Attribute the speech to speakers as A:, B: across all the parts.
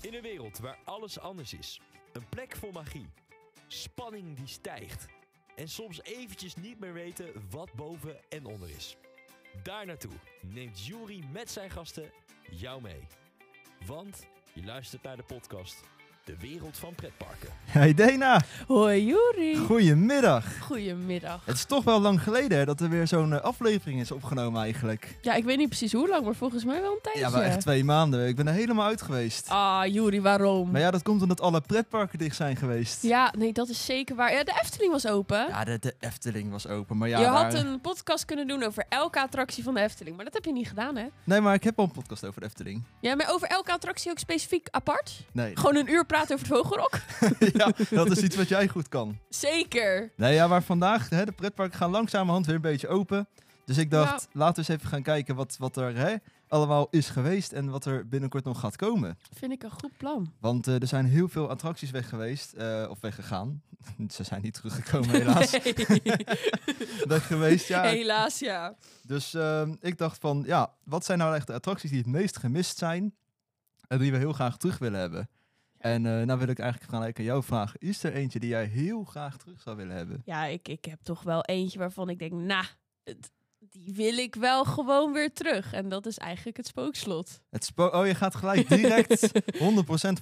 A: In een wereld waar alles anders is. Een plek vol magie. Spanning die stijgt. En soms eventjes niet meer weten wat boven en onder is. Daar naartoe neemt Jury met zijn gasten jou mee. Want je luistert naar de podcast De Wereld van Pretparken.
B: Hey Dena,
C: Hoi Juri.
B: goedemiddag.
C: Goedemiddag.
B: Het is toch wel lang geleden hè, dat er weer zo'n eh, aflevering is opgenomen eigenlijk.
C: Ja, ik weet niet precies hoe lang, maar volgens mij wel een tijdje.
B: Ja, wel echt twee maanden. Ik ben er helemaal uit geweest.
C: Ah, Juri, waarom?
B: Maar ja, dat komt omdat alle pretparken dicht zijn geweest.
C: Ja, nee, dat is zeker waar. Ja, de Efteling was open.
B: Ja, de, de Efteling was open. Maar ja,
C: je
B: daar-
C: had een podcast kunnen doen over elke attractie van de Efteling, maar dat heb je niet gedaan, hè?
B: Nee, maar ik heb al een podcast over de Efteling.
C: Ja, maar over elke attractie ook specifiek apart?
B: Nee,
C: Gewoon een uur praten over het Vogelrok?
B: ja, dat is iets wat jij goed kan.
C: zeker.
B: Nee, ja, maar vandaag, hè, de pretparken gaan langzamerhand weer een beetje open. Dus ik dacht, laten we eens even gaan kijken wat, wat er hè, allemaal is geweest en wat er binnenkort nog gaat komen.
C: Vind ik een goed plan.
B: Want eh, er zijn heel veel attracties weg geweest, eh, of weggegaan. Ze zijn niet teruggekomen helaas.
C: Nee.
B: Weg geweest, ja.
C: Helaas, ja.
B: Dus ehm, ik dacht van, ja, wat zijn nou echt de attracties die het meest gemist zijn en die we heel graag terug willen hebben? En eh nou wil ik eigenlijk gelijk aan jou vragen, is er eentje die jij heel graag terug zou willen hebben?
C: Ja, ik, ik heb toch wel eentje waarvan ik denk, nou, het- die wil ik wel gewoon weer terug. En dat is eigenlijk het spookslot.
B: Het spo- oh, je gaat gelijk direct 100%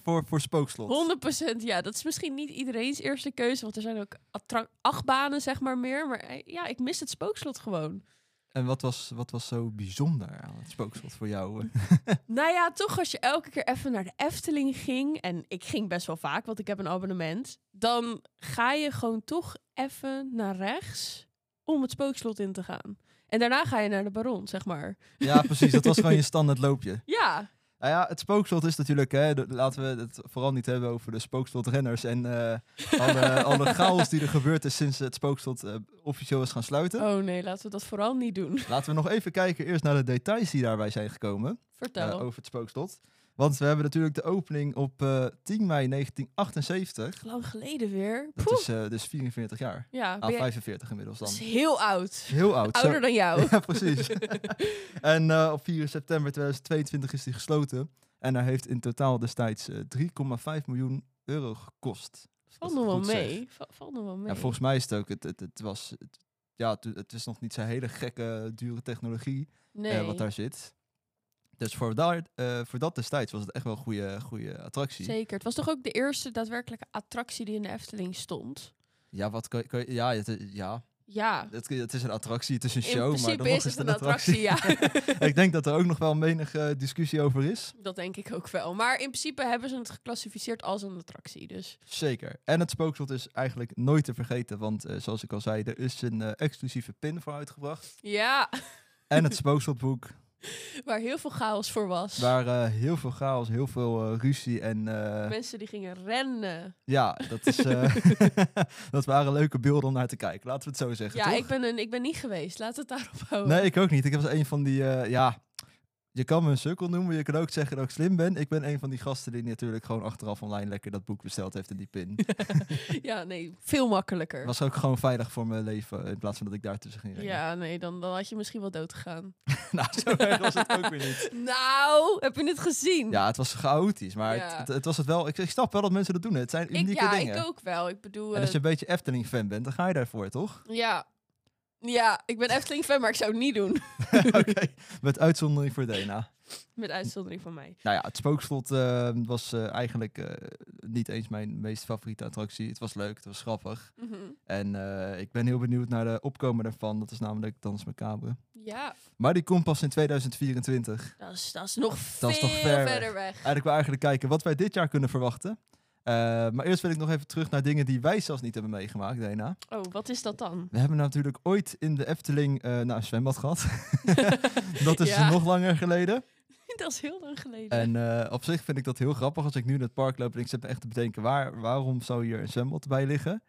B: voor, voor Spookslot.
C: 100% ja, dat is misschien niet iedereen's eerste keuze, want er zijn ook attra- achtbanen zeg maar meer, maar eh, ja, ik mis het spookslot gewoon.
B: En wat was, wat was zo bijzonder aan het Spookslot voor jou? eh?
C: Nou ja, toch als je elke keer even naar de Efteling ging, en ik ging best wel vaak, want ik heb een abonnement, dan ga je gewoon toch even naar rechts om het spookslot in te gaan. En daarna ga je naar de Baron, zeg maar.
B: ja, precies, dat was gewoon je standaard loopje.
C: Ja,
B: Nou ja, het spookslot is natuurlijk, hè, dat- laten we het vooral niet hebben over de spookslot-renners en eh, alle, alle chaos die er gebeurd is sinds het spookslot eh, officieel is gaan sluiten.
C: oh nee, laten we dat vooral niet doen.
B: Laten we nog even kijken eerst naar de details die daarbij zijn gekomen eh,
C: Vertel.
B: over het spookslot. Want we hebben natuurlijk de opening op eh, 10 mei 1978.
C: Lang geleden weer.
B: Dat
C: Poeh.
B: is eh, dus 44 jaar.
C: Ja,
B: Ah,
C: ben jij-
B: 45 inmiddels
C: dat
B: dan.
C: is heel oud.
B: Heel oud. zo-
C: Ouder dan jou.
B: Ja, precies. en eh, op 4 september 2022 is die gesloten. En daar heeft in totaal destijds eh, 3,5 miljoen euro gekost. Als ik dat
C: Valt nog wel
B: goed zeg.
C: mee. Va- Valt nog wel mee.
B: Ja, volgens mij is het ook, het, het, het was, het, ja, het, het is nog niet zo'n hele gekke, dure technologie eh,
C: nee.
B: wat daar zit. Dus voor, daar, eh, voor dat destijds was het echt wel een goede, goede attractie.
C: Zeker. Het was toch ook de eerste daadwerkelijke attractie die in de Efteling stond?
B: Ja, wat kan, je- kan je- ja, het, ja.
C: Ja.
B: Het, het is een attractie, het is een
C: In
B: show, maar dan
C: principe
B: nog
C: is het
B: het
C: een attractie, ja.
B: Ik denk dat er ook nog wel menig eh, discussie over is.
C: Dat denk ik ook wel. Maar in principe hebben ze het geclassificeerd als een attractie. Dus
B: Zeker. En het spookslot is eigenlijk nooit te vergeten, want eh, zoals ik al zei, er is een eh, exclusieve pin voor uitgebracht.
C: ja,
B: En het spookslotboek,
C: waar heel veel chaos voor was.
B: waar eh, heel veel chaos, heel veel eh, ruzie en eh,
C: Mensen die gingen rennen.
B: ja, dat, is, eh, dat waren leuke beelden om naar te kijken. Laten we het zo zeggen,
C: Ja,
B: toch?
C: ik ben, een, ik ben niet geweest. Laat het daarop houden.
B: Nee, ik ook niet. Ik was een van die, eh, ja, je kan me een sukkel noemen, je kan ook zeggen dat ik slim ben. Ik ben een van die gasten die natuurlijk gewoon achteraf online lekker dat boek besteld heeft en die pin.
C: Ja, nee, veel makkelijker.
B: Was ook gewoon veilig voor mijn leven, in plaats van dat ik daartussen ging rennen.
C: Ja, nee, dan, dan had je misschien wel dood gegaan.
B: nou, zo erg was het ook weer niet.
C: Nou, heb je het gezien?
B: Ja, het was chaotisch, maar
C: Ja.
B: het, het, het was het wel. Ik, ik snap wel dat mensen dat doen. hè. Het zijn
C: ik,
B: unieke
C: ja
B: dingen.
C: ik ook wel. Ik bedoel,
B: En als
C: eh,
B: je een beetje Efteling-fan bent, dan ga je daarvoor, toch?
C: ja. ja, ik ben Efteling-fan, maar ik zou het niet doen.
B: Oké, met uitzondering voor Dena.
C: Met uitzondering van mij.
B: Nou ja, het Spookslot eh, was eh, eigenlijk eh, niet eens mijn meest favoriete attractie. Het was leuk, het was grappig.
C: Mhm.
B: En eh, ik ben heel benieuwd naar de opkomen daarvan. Dat is namelijk Dans Macabre.
C: Ja,
B: Maar die komt pas in 2024.
C: dat is, dat is nog
B: Dat
C: veel
B: is toch ver weg.
C: verder weg.
B: Eigenlijk wil eigenlijk kijken wat wij dit jaar kunnen verwachten. Eh, maar eerst wil ik nog even terug naar dingen die wij zelfs niet hebben meegemaakt, Dena.
C: Oh, wat is dat dan?
B: We hebben natuurlijk ooit in de Efteling eh nou, een zwembad gehad. dat is
C: Ja.
B: nog langer geleden.
C: dat is heel lang geleden.
B: En eh, op zich vind ik dat heel grappig als ik nu in het park loop en ik zit me echt te bedenken waar, waarom zou hier een zwembad bij liggen.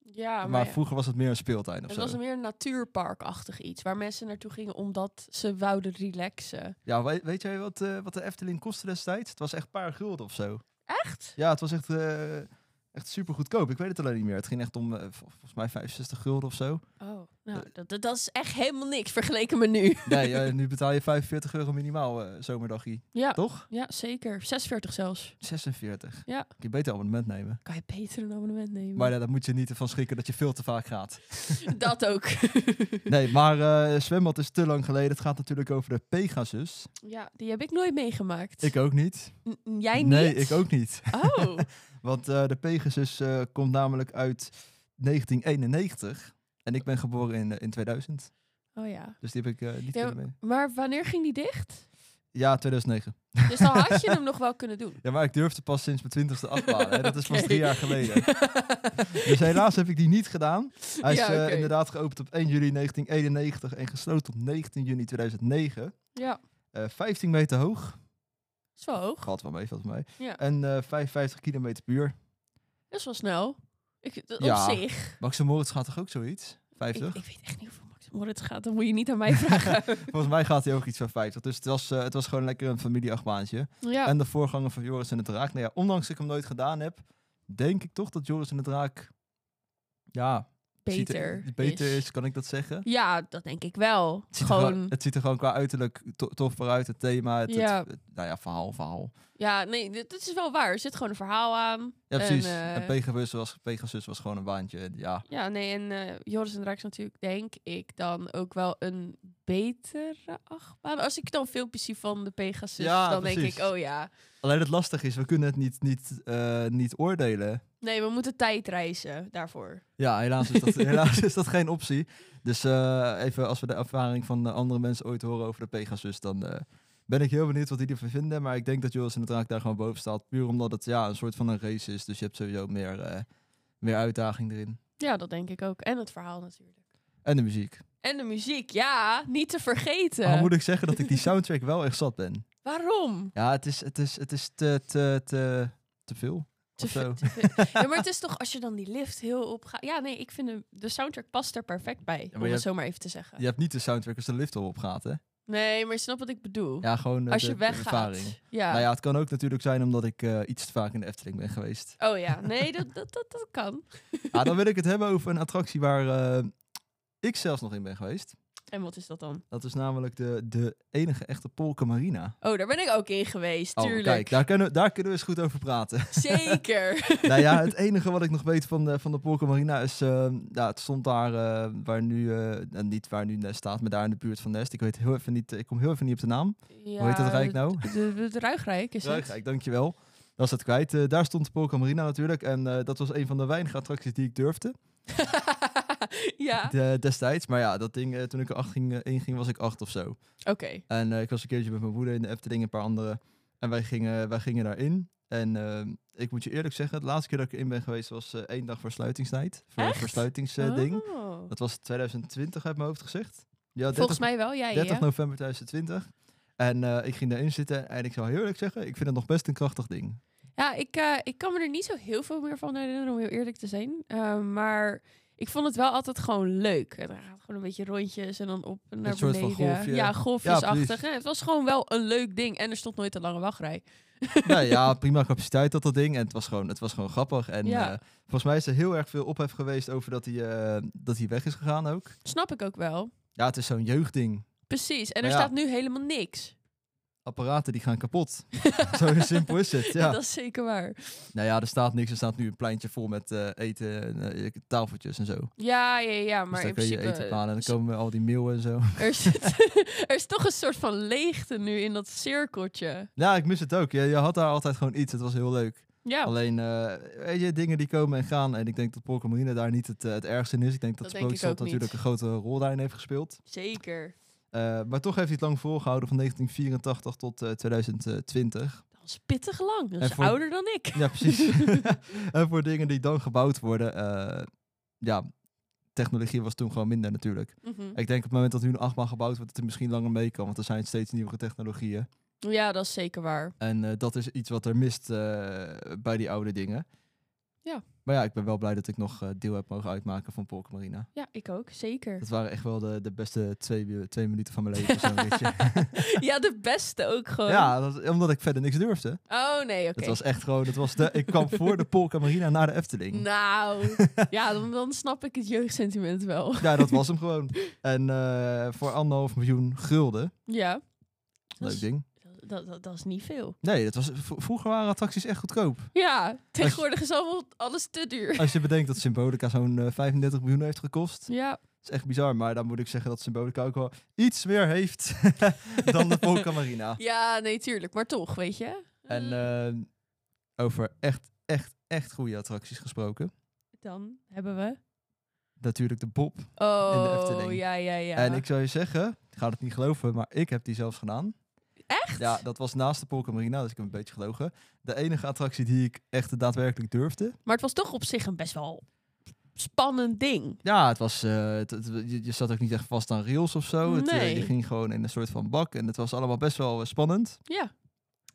C: ja, Ah, maar,
B: maar
C: ja,
B: vroeger was het meer een speeltuin of
C: het
B: zo.
C: was meer een natuurparkachtig iets. Waar mensen naartoe gingen omdat ze wouden relaxen.
B: Ja, we- weet jij wat, eh, wat de Efteling kostte destijds? Het was echt een paar gulden of zo.
C: Echt?
B: Ja, het was echt, eh, echt super goedkoop. Ik weet het alleen niet meer. Het ging echt om eh, vol- volgens mij 65 gulden of zo.
C: Oh. Nou, dat, dat, dat is echt helemaal niks vergeleken met nu.
B: Nee, eh, nu betaal je 45 euro minimaal eh zomerdagie,
C: Ja,
B: toch?
C: ja, zeker. 46 zelfs.
B: 46.
C: Ja.
B: Kun je beter een abonnement nemen.
C: Kan je beter een abonnement nemen.
B: Maar ja, daar moet je niet van schrikken dat je veel te vaak gaat.
C: Dat ook.
B: Nee, maar eh, zwembad is te lang geleden. Het gaat natuurlijk over de Pegasus.
C: ja, die heb ik nooit meegemaakt.
B: Ik ook niet.
C: N- n- jij niet?
B: Nee, ik ook niet.
C: Oh,
B: Want eh, de Pegasus eh, komt namelijk uit 1991. En ik ben geboren in, eh, in 2000.
C: oh ja.
B: Dus die heb ik eh, niet
C: Ja,
B: kunnen mee.
C: Maar wanneer ging die dicht?
B: Ja, 2009.
C: Dus dan had je hem nog wel kunnen doen.
B: Ja, maar ik durfde pas sinds mijn twintigste afhalen. hè. Dat is pas
C: Oké.
B: drie jaar geleden. Dus helaas heb ik die niet gedaan. Hij is
C: Ja,
B: eh,
C: oké.
B: inderdaad geopend op 1 juli 1991 en gesloten op 19 juni 2009.
C: ja,
B: Eh, 15 meter hoog.
C: is wel hoog.
B: Gaat wel mee, volgens mij.
C: Ja.
B: En eh, 55 kilometer per uur.
C: Dat is wel snel. Ik, dat-
B: Ja,
C: op zich.
B: Max en Moritz gaat toch ook zoiets?
C: Ik,
B: 50?
C: ik weet echt niet hoeveel Max Moritz gaat. Dat moet je niet aan mij vragen.
B: Volgens mij gaat hij ook iets van 50. Dus het was, eh, het was gewoon lekker een familieachtbaantje.
C: ja.
B: En de voorganger van Joris en de Draak. Nou ja, ondanks dat ik hem nooit gedaan heb, denk ik toch dat Joris en de Draak... Ja, ziet er-
C: beter.
B: beter is, kan ik dat zeggen?
C: Ja, dat denk ik wel.
B: Het ziet, er
C: Gewoon.
B: gewoon, het ziet er gewoon qua uiterlijk to- tof voor uit, het thema, het, het-
C: Ja.
B: het- nou ja, verhaal, verhaal.
C: Ja, nee, dit, dit is wel waar. Er zit gewoon een verhaal aan.
B: Ja, precies.
C: En, eh,
B: En, Pegasus, was, Pegasus was gewoon een baantje. En Ja,
C: Ja, nee, en eh, Joris en Draak is natuurlijk, denk ik, dan ook wel een betere achtbaan. Als ik dan filmpjes zie van de Pegasus,
B: Ja,
C: dan denk
B: precies.
C: ik, oh ja.
B: alleen het lastig is, we kunnen het niet, niet, eh, niet oordelen.
C: Nee, we moeten tijd reizen daarvoor.
B: Ja, helaas is dat, helaas is dat geen optie. Dus eh, even als we de ervaring van eh, andere mensen ooit horen over de Pegasus, dan eh, ben ik heel benieuwd wat die ervan vinden. Maar ik denk dat Joris en de Draak daar gewoon boven staat. Puur omdat het ja, een soort van een race is. Dus je hebt sowieso meer, eh, meer uitdaging erin.
C: Ja, dat denk ik ook. En het verhaal natuurlijk.
B: En de muziek.
C: En de muziek, ja, niet te vergeten.
B: Al Oh, moet ik zeggen dat ik die soundtrack wel echt zat ben.
C: Waarom?
B: Ja, het is, het is, het is te, te, te, te veel.
C: Te
B: Of zo.
C: ver- te ver- ja, maar het is toch als je dan die lift heel op gaat. Ja, nee, ik vind hem- de soundtrack past er perfect bij.
B: maar
C: om
B: je
C: het
B: hebt-
C: zo maar even te zeggen.
B: Je hebt niet de soundtrack als de lift erop gaat, hè?
C: Nee, maar je snapt wat ik bedoel.
B: Ja, gewoon eh,
C: als
B: de-
C: je
B: de
C: weggaat.
B: ervaring.
C: Ja.
B: Nou ja, het kan ook natuurlijk zijn omdat ik eh, iets te vaak in de Efteling ben geweest.
C: Oh ja, nee, dat, dat, dat, dat kan.
B: ah, dan wil ik het hebben over een attractie waar eh, ik zelfs nog in ben geweest.
C: En wat is dat dan?
B: Dat is namelijk de, de enige echte Polka Marina.
C: Oh, daar ben ik ook in geweest,
B: Oh,
C: tuurlijk.
B: kijk, daar kunnen, we- daar kunnen we eens goed over praten.
C: Zeker.
B: nou ja, het enige wat ik nog weet van de, van de Polka Marina is... ehm, ja, het stond daar eh, waar nu... eh, nou, niet waar nu Nest staat, maar daar in de buurt van Nest. Ik, weet heel even niet, ik kom heel even niet op de naam.
C: ja,
B: Hoe heet dat rijk nou?
C: Het, het- het Ruigrijk is het.
B: Frankrijk, dankjewel. Dat is het kwijt. Eh, daar stond de Polka Marina natuurlijk. En eh, dat was een van de weinige attracties die ik durfde
C: ja,
B: de- destijds. Maar ja, dat ding, eh, toen ik er acht ging, eh, in ging, was ik acht of zo.
C: oké.
B: En eh, ik was een keertje met mijn moeder in de Efteling, een paar anderen. En wij gingen, wij gingen daarin. En ehm, ik moet je eerlijk zeggen, de laatste keer dat ik erin ben geweest was eh, één dag voor sluitingstijd. Voor
C: Echt? Oh.
B: versluitingsding. Dat was 2020 uit mijn hoofd gezegd. Ja, 30
C: Volgens mij wel, jij
B: 30
C: ja.
B: november 2020. En eh, ik ging daarin zitten en ik zal heel eerlijk zeggen, ik vind het nog best een krachtig ding.
C: Ja, ik, eh, ik kan me er niet zo heel veel meer van herinneren, om heel eerlijk te zijn. Eh, maar ik vond het wel altijd gewoon leuk. Het gaat gewoon een beetje rondjes en dan op en naar
B: soort van
C: beneden.
B: golfje.
C: Ja,
B: Ja,
C: golfjesachtig.
B: precies.
C: hè. het was gewoon wel een leuk ding. En er stond nooit een lange wachtrij.
B: nou ja, prima capaciteit had dat ding. En het was gewoon, het was gewoon grappig. En
C: Ja.
B: eh, volgens mij is er heel erg veel ophef geweest over dat hij, eh, dat hij weg is gegaan ook.
C: Snap ik ook wel.
B: Ja, het is zo'n jeugdding.
C: Precies. En er
B: Maar ja.
C: staat nu helemaal niks.
B: Apparaten die gaan kapot. Zo simpel is het. Ja.
C: Dat is zeker waar.
B: Nou ja, er staat niks. Er staat nu een pleintje vol met eh, eten en eh, tafeltjes en zo.
C: Ja, ja, ja. Maar
B: dus dan
C: in
B: kun je
C: principe... eh,
B: eten halen en dan komen al die meeuwen en zo.
C: Er, zit, er is toch een soort van leegte nu in dat cirkeltje.
B: Ja, ik mis het ook. Je, je had daar altijd gewoon iets. Het was heel leuk.
C: Ja,
B: Alleen, eh, weet je, dingen die komen en gaan. En ik denk dat Polka Marina daar niet het, eh, het ergste in is. Ik denk dat,
C: Dat
B: de
C: denk ik
B: Sprookjesstad
C: ook niet.
B: natuurlijk een grote rol daarin heeft gespeeld.
C: zeker.
B: Eh, maar toch heeft hij het lang volgehouden van 1984 tot eh, 2020.
C: Dat is pittig lang. Dat
B: En
C: is
B: voor-
C: ouder dan ik.
B: Ja, precies. en voor dingen die dan gebouwd worden, eh, ja, technologie was toen gewoon minder natuurlijk.
C: Mhm.
B: Ik denk op het moment dat nu een achtbaan gebouwd wordt, dat het misschien langer mee kan, want er zijn steeds nieuwere technologieën.
C: Ja, dat is zeker waar.
B: En eh, dat is iets wat er mist eh, bij die oude dingen.
C: Ja.
B: Maar ja, ik ben wel blij dat ik nog eh, deel heb mogen uitmaken van Polk Marina.
C: Ja, ik ook, zeker.
B: Dat waren echt wel de, de beste twee, uur- twee minuten van mijn leven. zo'n ritje.
C: ja, de beste ook gewoon.
B: ja, dat- omdat ik verder niks durfde.
C: Oh nee, oké.
B: Het was echt gewoon, het was de, ik kwam voor de Polka Marina naar de Efteling.
C: Nou, ja, dan, dan snap ik het jeugdsentiment wel.
B: Ja, dat was hem gewoon. En eh, voor anderhalf miljoen gulden.
C: Ja. Dat
B: Leuk
C: is-
B: ding.
C: Dat, dat, dat is niet veel.
B: Nee, dat was, v- vroeger waren attracties echt goedkoop.
C: Ja, tegenwoordig is allemaal alles te duur.
B: Als je bedenkt dat Symbolica zo'n eh, 35 miljoen heeft gekost.
C: Ja,
B: Dat is echt bizar, maar dan moet ik zeggen dat Symbolica ook wel iets meer heeft dan de Polka Marina.
C: ja nee, tuurlijk. Maar toch, weet je.
B: En eh, over echt, echt, echt goede attracties gesproken.
C: Dan hebben we...
B: Natuurlijk de Bob.
C: Oh,
B: Efteling.
C: ja, ja, ja.
B: En ik zou je zeggen, ik ga het niet geloven, maar ik heb die zelfs gedaan.
C: Echt?
B: Ja, dat was naast de Polka Marina, dus ik heb een beetje gelogen. De enige attractie die ik echt daadwerkelijk durfde.
C: Maar het was toch op zich een best wel spannend ding.
B: Ja, het was, eh, het- het- je, je zat ook niet echt vast aan rails of zo. Het, eh,
C: Nee.
B: je ging gewoon in een soort van bak en het was allemaal best wel eh, spannend.
C: Ja.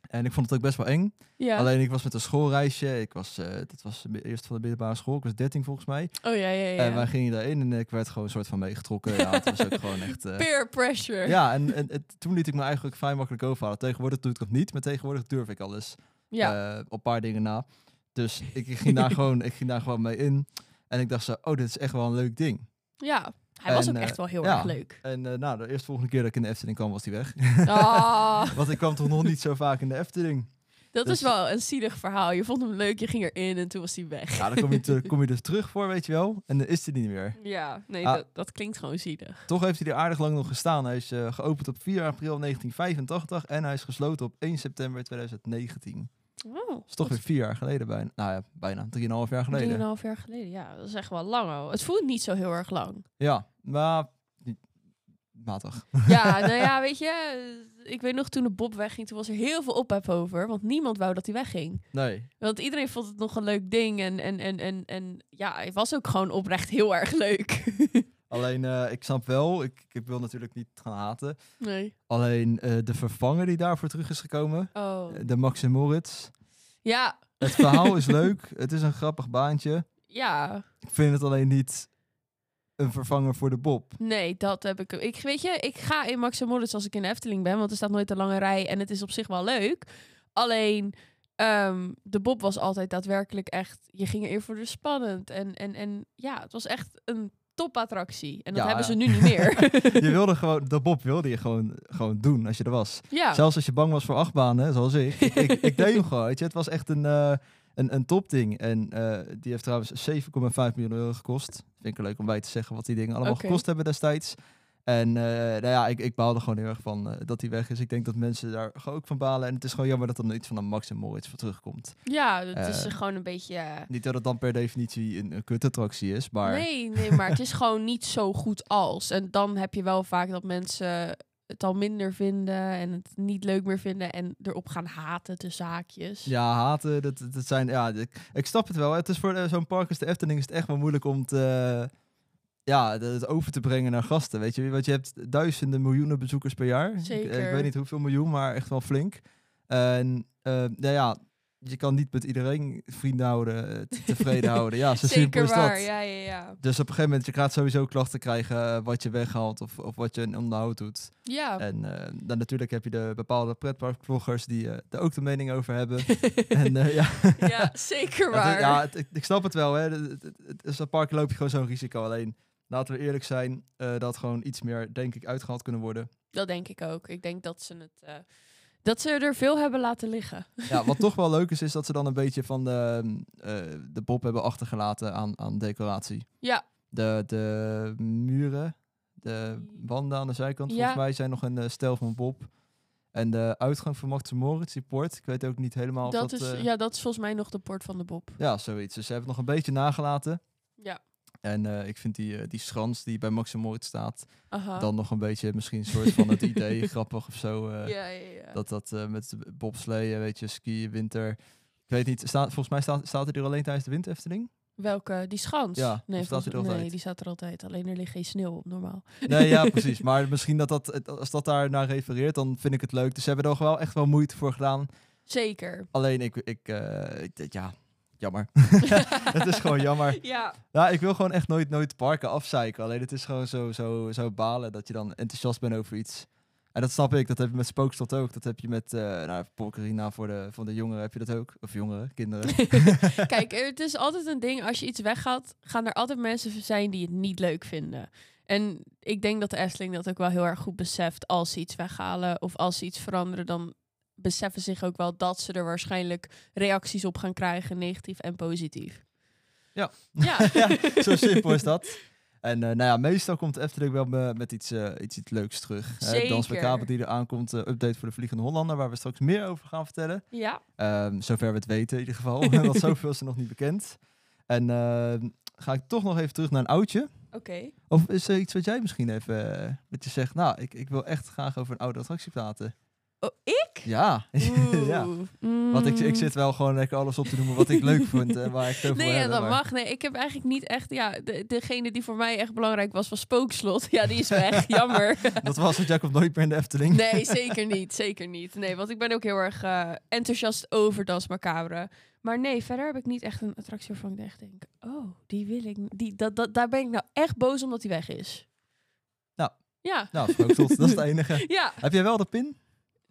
B: En ik vond het ook best wel eng.
C: ja.
B: Alleen ik was met een schoolreisje. Ik was, eh dat was de eerst van de middelbare school. Ik was 13 volgens mij.
C: Oh ja, ja, ja.
B: En Eh, wij gingen daarin en ik werd gewoon een soort van meegetrokken. Ja, het was ook gewoon echt... eh,
C: Peer pressure.
B: ja, en, en het- toen liet ik me eigenlijk vrij makkelijk overhalen. Tegenwoordig doe ik dat niet, maar tegenwoordig durf ik alles.
C: Ja.
B: eh, op een paar dingen na. Dus ik, ik ging daar gewoon, ik ging daar gewoon mee in. En ik dacht zo, oh, dit is echt wel een leuk ding.
C: Ja. Hij was
B: en,
C: ook
B: eh,
C: echt wel heel
B: ja.
C: erg leuk.
B: En eh, nou, de eerste volgende keer dat ik in de Efteling kwam, was die weg.
C: Ah,
B: Want ik kwam toch nog niet zo vaak in de Efteling.
C: dat
B: Dus-
C: is wel een zielig verhaal. Je vond hem leuk, je ging erin en toen was hij weg.
B: Ja, Nou, dan kom je, te- kom je er terug voor, weet je wel. En dan is hij niet meer.
C: Ja, nee,
B: Ah.
C: dat, dat klinkt gewoon zielig.
B: Toch heeft hij er aardig lang nog gestaan. Hij is eh, geopend op 4 april 1985 en hij is gesloten op 1 september 2019. Dat
C: Oh,
B: is toch weer vier jaar geleden bijna. Nou ja, bijna. 3,5 jaar geleden.
C: Drieënhalf jaar geleden, ja. Dat is echt wel lang al. Het voelt niet zo heel erg lang.
B: Ja, maar niet- matig.
C: Ja, nou ja, weet je. eh, Ik weet nog toen de Bob wegging, toen was er heel veel ophef over. Want niemand wou dat hij wegging.
B: Nee.
C: Want iedereen vond het nog een leuk ding. En, en, en, en, en ja, het was ook gewoon oprecht heel erg leuk.
B: Alleen, eh, ik snap wel, ik, ik wil natuurlijk niet gaan haten.
C: Nee.
B: Alleen eh, de vervanger die daarvoor terug is gekomen,
C: Oh.
B: eh, de Max en Moritz.
C: Ja,
B: Het verhaal is leuk, het is een grappig baantje.
C: ja.
B: Ik vind het alleen niet een vervanger voor de Bob.
C: Nee, dat heb ik. Ik weet je, ik ga in Max en Moritz als ik in de Efteling ben. Want er staat nooit een lange rij. En het is op zich wel leuk. Alleen, ehm, de Bob was altijd daadwerkelijk echt. Je ging er eer voor de spannend. En, en, en ja, het was echt een topattractie. En dat
B: Ja,
C: hebben
B: ja.
C: ze nu niet meer.
B: Je wilde gewoon, de Bob wilde je gewoon, gewoon doen als je er was.
C: ja.
B: Zelfs als je bang was voor achtbanen, zoals ik. ik, ik, ik deed hem gewoon, weet je. Het was echt een, eh, een, een topding. En eh, die heeft trouwens 7,5 miljoen euro gekost. Vind ik leuk om bij te zeggen wat die dingen allemaal
C: Oké.
B: gekost hebben destijds. En eh, nou ja, ik, ik baalde gewoon heel erg van eh, dat hij weg is. Ik denk dat mensen daar gewoon ook van balen. En het is gewoon jammer dat er nog iets van een Max en Moritz voor terugkomt.
C: ja, het is
B: Eh,
C: gewoon een beetje. eh,
B: Niet dat het dan per definitie een, een kutattractie is, maar...
C: Nee, nee, maar het is gewoon niet zo goed als. En dan heb je wel vaak dat mensen het al minder vinden en het niet leuk meer vinden en erop gaan haten de zaakjes.
B: Ja, haten, dat, dat zijn... Ja, ik, ik snap het wel. Het is voor eh, zo'n park als de Efteling is het echt wel moeilijk om te, eh, ja, de- het over te brengen naar gasten, weet je. Want je hebt duizenden, miljoenen bezoekers per jaar. Ik- Ik,
C: Zeker.
B: weet niet hoeveel miljoen, maar echt wel flink. En eh, nou ja, je kan niet met iedereen vrienden houden, eh, te- tevreden houden. Ja, zo simpel
C: Zeker
B: is
C: waar.
B: dat.
C: Ja, ja, ja.
B: Dus op een gegeven moment, je gaat sowieso klachten krijgen eh, wat je weghaalt of, of wat je in onderhoud doet.
C: Ja.
B: En eh, dan natuurlijk heb je de bepaalde pretparkvloggers die eh, daar ook de mening over hebben. en eh, ja,
C: ja, zeker
B: het is-
C: waar.
B: ja, het- ik, ik snap het wel. Hè. Het, het, het- het- zo'n park loop je gewoon zo'n risico. Alleen, laten we eerlijk zijn, eh, dat gewoon iets meer, denk ik, uitgehaald kunnen worden.
C: Dat denk ik ook. Ik denk dat ze het eh, dat ze er veel hebben laten liggen.
B: Ja, wat toch wel leuk is, is dat ze dan een beetje van de, eh, de bob hebben achtergelaten aan, aan decoratie.
C: Ja.
B: De, de muren, de wanden aan de zijkant,
C: Ja.
B: volgens mij zijn nog een eh, stijl van bob. En de uitgang van Max en Moritz, die poort, ik weet ook niet helemaal of
C: Dat
B: dat...
C: is,
B: eh,
C: ja, dat is volgens mij nog de poort van de Bob.
B: Ja, zoiets. Dus ze hebben het nog een beetje nagelaten.
C: Ja.
B: En eh, ik vind die, eh, die schans die bij Max en Moritz staat,
C: Aha.
B: dan nog een beetje misschien een soort van het idee, grappig of zo. eh,
C: ja, ja, ja.
B: Dat dat eh, met bobsleeën, weet je, skiën, winter. Ik weet niet, staat, volgens mij staat, staat hij er alleen tijdens de winterefteling?
C: Welke? Die schans?
B: Ja, of
C: nee,
B: staat die
C: volgens-
B: er altijd?
C: nee, die staat er altijd. Alleen er ligt geen sneeuw op normaal.
B: Nee, ja, precies. Maar misschien dat dat, het- als dat daar naar refereert, dan vind ik het leuk. Dus ze hebben er wel echt wel moeite voor gedaan.
C: Zeker.
B: Alleen ik, ik, eh, ik- ja, jammer. het is gewoon jammer.
C: Ja,
B: Nou, ik wil gewoon echt nooit, nooit parken afzeiken. Alleen het is gewoon zo, zo, zo balen dat je dan enthousiast bent over iets. En dat snap ik, dat heb je met Spookslot ook. Dat heb je met, eh nou, Polkarina voor de, van de jongeren heb je dat ook. Of jongeren, kinderen.
C: Kijk, eh, het is altijd een ding. Als je iets weggaat, gaan er altijd mensen zijn die het niet leuk vinden. En ik denk dat de Efteling dat ook wel heel erg goed beseft. Als ze iets weghalen of als ze iets veranderen, dan beseffen ze zich ook wel dat ze er waarschijnlijk reacties op gaan krijgen, negatief en positief.
B: Ja.
C: Ja.
B: ja, zo simpel is dat. En eh, nou ja, meestal komt de Efteling wel me- met iets, eh, iets, iets leuks terug. Eh, Dans met
C: Zeker.
B: kabel die er aankomt, eh, update voor de Vliegende Hollander, waar we straks meer over gaan vertellen.
C: ja.
B: Ehm, zover we het weten in ieder geval, want zoveel is er nog niet bekend. En ehm, ga ik toch nog even terug naar een oudje.
C: Oké.
B: Of is er iets wat jij misschien even, eh, dat je zegt, nou, ik, ik wil echt graag over een oude attractie praten.
C: Oh, ik?
B: Ja, ja.
C: Oeh. Mm.
B: Want ik, ik zit wel gewoon lekker alles op te noemen wat ik leuk vond en waar ik het over
C: Nee,
B: wil
C: ja,
B: hebben, maar-
C: dat mag. Nee, ik heb eigenlijk niet echt... Ja, de- degene die voor mij echt belangrijk was, was Spookslot. Ja, die is weg. Jammer.
B: Dat was het, jij komt nooit meer in de Efteling.
C: Nee, zeker niet. Zeker niet. Nee, want ik ben ook heel erg eh, enthousiast over Dans Macabre. Maar nee, verder heb ik niet echt een attractie waarvan ik echt denk... Oh, die wil ik... Die, dat, dat, daar ben ik nou echt boos omdat die weg is.
B: Nou.
C: Ja.
B: Nou, Spookslot, dat is het enige.
C: Ja.
B: Heb jij wel de pin?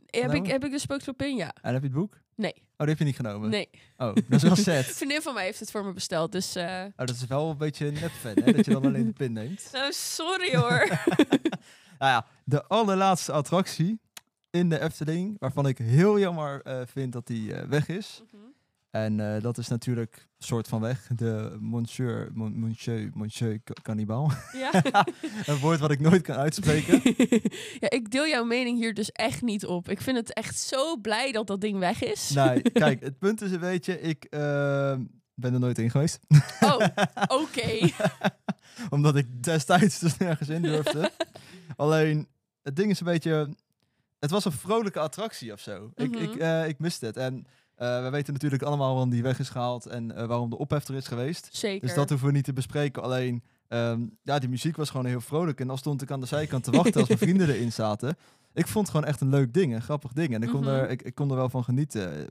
C: Heb
B: Nou.
C: ik, heb ik de Spookslot in? Ja.
B: En heb je het boek?
C: Nee.
B: Oh, die heb je niet genomen?
C: Nee.
B: Oh, dat is wel
C: Een
B: sad.
C: vriendin van mij heeft het voor me besteld, dus... eh,
B: Oh, dat is wel een beetje een nep fan, hè? Dat je dan alleen de pin neemt.
C: nou, sorry hoor.
B: Nou ja, de allerlaatste attractie in de Efteling, waarvan ik heel jammer eh, vind dat die eh, weg is.
C: Mhm.
B: En eh, dat is natuurlijk soort van weg, de Monsieur, mon, Monsieur, Monsieur Ca- Cannibal.
C: ja.
B: een woord wat ik nooit kan uitspreken.
C: ja, ik deel jouw mening hier dus echt niet op. Ik vind het echt zo blij dat dat ding weg is.
B: nee, kijk, het punt is een beetje, ik eh, ben er nooit in geweest.
C: Oh, oké.
B: Omdat ik destijds dus nergens in durfde. Alleen, het ding is een beetje... Het was een vrolijke attractie of zo.
C: Mhm.
B: Ik, ik, eh, ik miste het. En eh, we weten natuurlijk allemaal waarom die weg is gehaald en eh, waarom de ophef er is geweest.
C: Zeker.
B: Dus dat hoeven we niet te bespreken. Alleen, ehm, ja, die muziek was gewoon heel vrolijk. En dan stond ik aan de zijkant te wachten als mijn vrienden erin zaten. Ik vond het gewoon echt een leuk ding, een grappig ding. En ik kon,
C: Mhm.
B: er, ik, ik kon er wel van genieten.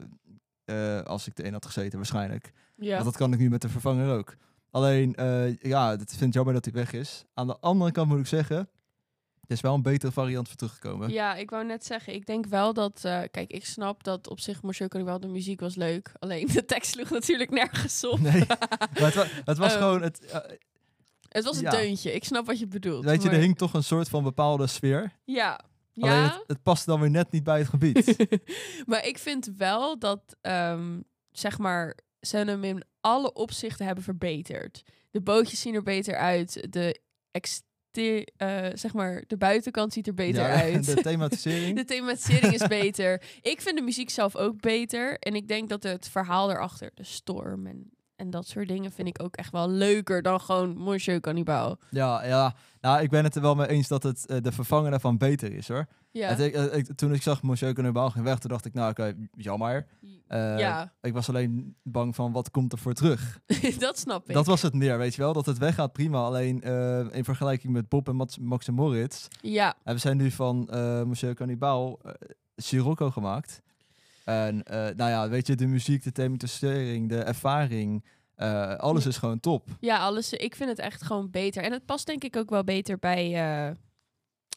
B: Eh, als ik erin had gezeten waarschijnlijk.
C: ja.
B: Want dat kan ik nu met de vervanger ook. Alleen, eh, ja, het vind ik jammer dat hij weg is. Aan de andere kant moet ik zeggen, er is wel een betere variant voor teruggekomen.
C: Ja, ik wou net zeggen, ik denk wel dat... eh, kijk, ik snap dat op zich Monsieur wel de muziek was leuk. Alleen de tekst sloeg natuurlijk nergens op.
B: Nee, maar het, wa- het was
C: Oh.
B: gewoon, het, eh,
C: Het was een
B: Ja.
C: deuntje, ik snap wat je bedoelt.
B: weet je,
C: maar-
B: er hing toch een soort van bepaalde sfeer.
C: Ja,
B: Alleen
C: ja.
B: het, het paste dan weer net niet bij het gebied.
C: maar ik vind wel dat, ehm, zeg maar, ze hem in alle opzichten hebben verbeterd. De bootjes zien er beter uit. De, exte- eh, zeg maar, de buitenkant ziet er beter
B: Ja,
C: uit.
B: De thematisering.
C: De thematisering is beter. Ik vind de muziek zelf ook beter. En ik denk dat het verhaal erachter, de storm en, en dat soort dingen, vind ik ook echt wel leuker dan gewoon Monsieur Cannibal.
B: ja, ja. Nou, ik ben het er wel mee eens dat het eh, de vervanger daarvan beter is, hoor.
C: Ja.
B: Het- ik- eh, ik- toen ik zag Monsieur Cannibal ging weg, toen dacht ik, nou, oké, jammer. Eh,
C: ja,
B: Ik was alleen bang van, wat komt er voor terug?
C: dat snap ik.
B: Dat was het meer, weet je wel. Dat het weggaat, prima. Alleen eh, in vergelijking met Bob en Mats- Max en Moritz...
C: Ja,
B: En we zijn nu van eh Monsieur Cannibal eh, Sirocco gemaakt. En eh, nou ja, weet je, de muziek, de thematisering, de ervaring... eh, alles is gewoon top.
C: ja, alles. Ik vind het echt gewoon beter. En het past denk ik ook wel beter bij eh,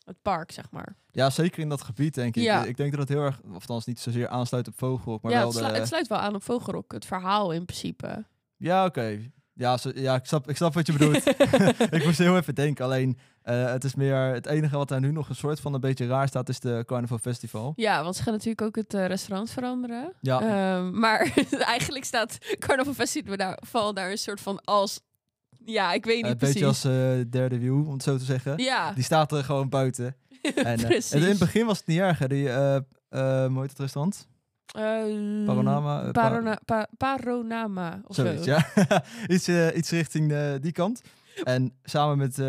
C: het park, zeg maar.
B: Ja, zeker in dat gebied, denk ik.
C: Ja.
B: Ik denk dat het heel erg, of althans niet zozeer aansluit op Vogelrok, maar
C: ja,
B: wel
C: het, slu-
B: de...
C: het sluit wel aan op Vogelrok, het verhaal in principe.
B: Ja, oké. Ja, zo- ja ik, snap, ik snap wat je bedoelt. ik moest heel even denken. Alleen, eh, het is meer... Het enige wat daar nu nog een soort van een beetje raar staat... is de Carnival Festival.
C: Ja, want ze gaan natuurlijk ook het eh, restaurant veranderen.
B: Ja, eh,
C: Ehm, maar eigenlijk staat Carnaval Festival daar, val daar een soort van als... Ja, ik weet niet
B: een
C: precies.
B: beetje als eh, derde wiel, om het zo te zeggen.
C: Ja,
B: Die staat er gewoon buiten. En, eh,
C: precies.
B: en in het begin was het niet erg, hè. Die, eh eh hoe heet het restaurant?
C: Ehm,
B: Paronama, eh,
C: Parona, pa- Paronama of
B: Zoiets,
C: zo.
B: ja. iets, eh, iets richting eh, die kant. En samen met eh,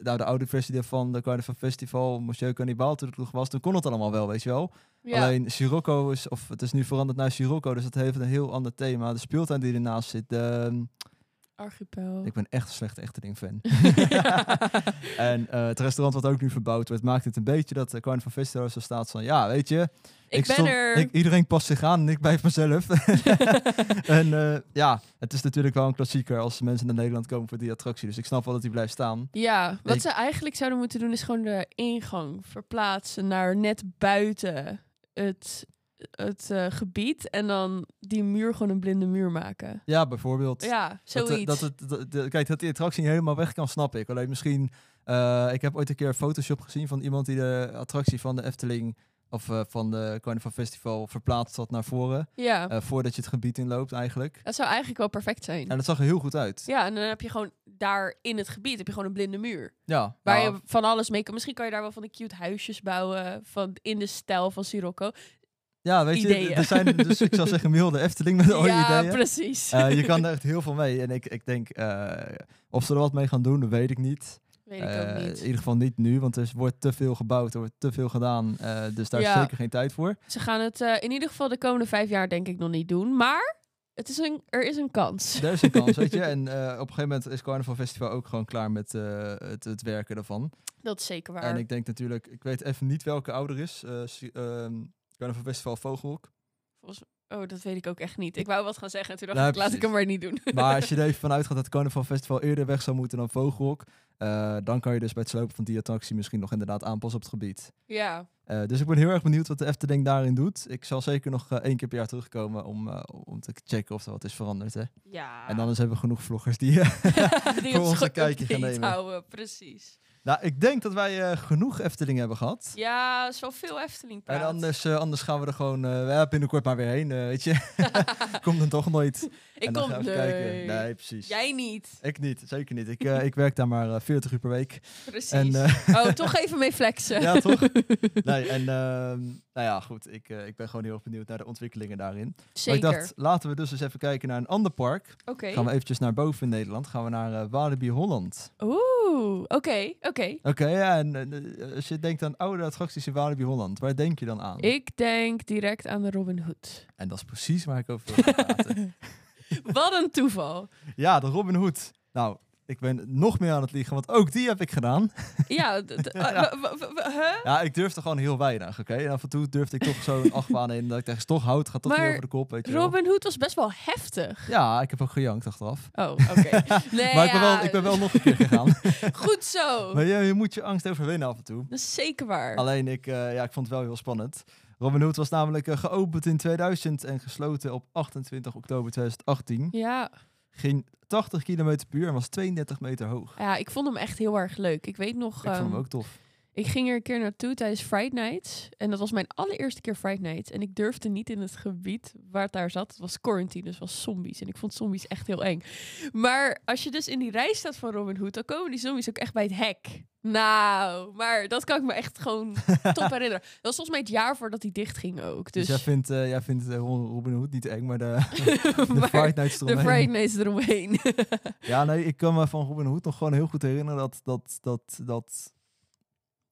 B: nou, de oude versie daarvan, de Carnival Festival, Monsieur Cannibal, toen het nog was, toen kon het allemaal wel, weet je wel.
C: Ja.
B: Alleen Sirocco is,
C: Oh.
B: of het is nu veranderd naar Sirocco, dus dat heeft een heel ander thema. De speeltuin die ernaast zit, de,
C: Archipel.
B: Ik ben echt een slechte echteling fan.
C: Ja.
B: en eh, het restaurant wat ook nu verbouwd wordt, maakt het een beetje dat de Carne van Vistelro zo staat van, ja, weet je,
C: ik, ben
B: stond-
C: er.
B: ik- iedereen past zich aan en ik blijf mezelf. en eh, ja, het is natuurlijk wel een klassieker als mensen naar Nederland komen voor die attractie. Dus ik snap wel dat die blijft staan.
C: ja, wat
B: Ik-
C: ze eigenlijk zouden moeten doen is gewoon de ingang verplaatsen naar net buiten het, het eh, gebied. En dan die muur gewoon een blinde muur maken.
B: Ja, bijvoorbeeld.
C: Ja,
B: Dat, eh, Dat,
C: zoiets.
B: het, dat- de- kijk, dat die attractie niet helemaal weg kan, snap ik. Alleen misschien, eh, ik heb ooit een keer een Photoshop gezien van iemand die de attractie van de Efteling of eh, van de Carnival Festival verplaatst had naar voren.
C: ja,
B: eh, voordat je het gebied inloopt eigenlijk.
C: dat zou eigenlijk wel perfect zijn.
B: En dat zag er heel goed uit.
C: Eh, Ja, en dan heb je gewoon daar in het gebied heb je gewoon een blinde muur.
B: Ja,
C: Waar
B: nou,
C: je van alles mee kan. Misschien kan je daar wel van die cute huisjes bouwen. Van, in de stijl van Sirocco.
B: ja weet je,
C: ideeën.
B: er zijn dus ik zou zeggen Miel de Efteling met al je
C: ja,
B: ideeën.
C: precies.
B: Eh, je kan er echt heel veel mee. En ik, ik denk, eh, of ze er wat mee gaan doen, dat weet ik niet.
C: Weet ik
B: Eh,
C: ook
B: In
C: niet.
B: ieder geval niet nu, want er wordt te veel gebouwd, er wordt te veel gedaan. eh, dus daar is
C: Ja.
B: zeker geen tijd voor.
C: Ze gaan het eh, in ieder geval de komende vijf jaar denk ik nog niet doen. Maar het is een, er is een kans.
B: Er is een kans, weet je. En eh, op een gegeven moment is Carnival Festival ook gewoon klaar met eh, het, het werken daarvan.
C: Dat is zeker waar.
B: En ik denk natuurlijk, ik weet even niet welke ouder is. eh, si- ehm, Carnival Festival Vogelhoek.
C: Oh, dat weet ik ook echt niet. Ik wou wat gaan zeggen en toen dacht
B: Nou,
C: ik, laat ik
B: precies.
C: hem maar niet doen.
B: Maar als je er even vanuit gaat dat Carnival Festival eerder weg zou moeten dan Vogelhoek, eh, dan kan je dus bij het slopen van die attractie misschien nog inderdaad aanpassen op het gebied.
C: ja,
B: Eh, dus ik ben heel erg benieuwd wat de Efteling daarin doet. Ik zal zeker nog eh, één keer per jaar terugkomen om, eh, om te checken of er wat is veranderd. Hè?
C: ja.
B: En dan eens hebben we genoeg vloggers die... eh,
C: Die
B: voor ons
C: ons
B: een
C: gewoon
B: kijkje gaan
C: update
B: nemen.
C: houden, precies.
B: nou, ik denk dat wij eh, genoeg Efteling hebben gehad.
C: Ja, zoveel Efteling praat.
B: En anders, eh, anders gaan we er gewoon eh, ja, binnenkort maar weer heen, eh, weet je. Komt dan toch nooit.
C: ik
B: en dan
C: kom
B: gaan we even
C: nee.
B: kijken. Nee, precies.
C: Jij niet,
B: Ik niet, zeker niet. Ik, eh, ik werk daar maar eh, 40 uur per week.
C: precies.
B: En, eh,
C: Oh, toch even mee flexen.
B: ja, toch? Nee, en ehm, nou ja, goed. Ik, eh, ik ben gewoon heel erg benieuwd naar de ontwikkelingen daarin.
C: Zeker.
B: Maar ik dacht, laten we dus eens even kijken naar een ander park.
C: Oké.
B: Gaan we eventjes naar boven in Nederland. Gaan we naar eh, Walibi Holland.
C: Oeh, oké, oké.
B: Oké, ja, en eh, als je denkt aan oude attracties in Walibi Holland, waar denk je dan aan?
C: Ik denk direct aan de Robin Hood.
B: En dat is precies waar ik over wil gaan praten.
C: Wat een toeval.
B: ja, de Robin Hood. Nou, ik ben nog meer aan het liegen, want ook die heb ik gedaan.
C: Ja, d- d- ah, w- w- w- huh?
B: Ja, ik durfde gewoon heel weinig, oké? En af en toe durfde ik toch zo'n achtbaan in, dat ik dacht, toch hout, gaat dat
C: Maar
B: hier over de kop, weet je wel.
C: Robin Hood was best wel heftig.
B: Ja, ik heb ook gejankt achteraf.
C: Oh, oké. Nee,
B: maar ik ben,
C: ja,
B: wel, ik ben wel nog een keer gegaan.
C: Goed zo.
B: maar je, je moet je angst overwinnen af en toe.
C: Dat is zeker waar.
B: Alleen ik, eh, ja, ik vond het wel heel spannend. Robin Hood was namelijk eh, geopend in 2000 en gesloten op 28 oktober 2018.
C: Ja.
B: Ging 80 km per uur en was 32 meter hoog.
C: ja, ik vond hem echt heel erg leuk. Ik weet nog...
B: Ik vond hem
C: ehm,
B: ook tof.
C: Ik ging er een keer naartoe tijdens Friday Night. En dat was mijn allereerste keer Friday Night. En ik durfde niet in het gebied waar het daar zat. Het was quarantine, dus het was zombies. En ik vond zombies echt heel eng. Maar als je dus in die rij staat van Robin Hood, dan komen die zombies ook echt bij het hek. Nou, maar dat kan ik me echt gewoon top herinneren. Dat was volgens mij het jaar voordat hij dicht ging ook.
B: Dus,
C: Dus
B: jij vindt, eh, jij vindt eh, Robin Hood niet eng, maar de, de
C: maar
B: Fright Nights
C: de
B: eromheen.
C: Friday Nights eromheen.
B: Ja, nee, ik kan me van Robin Hood nog gewoon heel goed herinneren dat dat, dat, dat,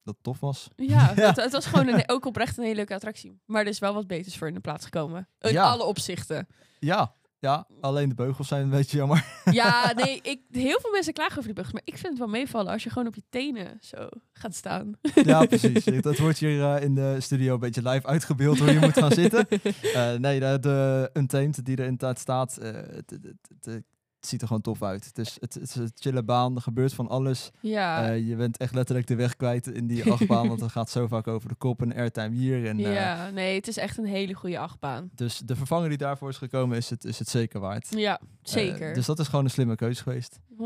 B: dat tof was.
C: ja, Het, het was gewoon een, ook oprecht een hele leuke attractie. Maar er is wel wat beters voor in de plaats gekomen. In
B: Ja.
C: alle opzichten.
B: Ja, ja, alleen de beugels zijn een beetje jammer.
C: Ja, nee, ik, heel veel mensen klagen over die bugs. Maar ik vind het wel meevallen als je gewoon op je tenen zo gaat staan.
B: ja, precies. Dat wordt hier eh, in de studio een beetje live uitgebeeld hoe je moet gaan zitten. Eh, nee, de, de Untamed die er inderdaad staat, eh, het, het, het- het- het ziet er gewoon tof uit. Het is, het, het is een chille baan, er gebeurt van alles.
C: Ja,
B: Eh, je bent echt letterlijk de weg kwijt in die achtbaan, want het gaat zo vaak over de kop en airtime hier. En, eh,
C: ja, nee, het is echt een hele goede achtbaan.
B: Dus de vervanger die daarvoor is gekomen, is het, is het zeker waard.
C: Ja,
B: Eh,
C: zeker.
B: dus dat is gewoon een slimme keuze geweest.
C: 100%.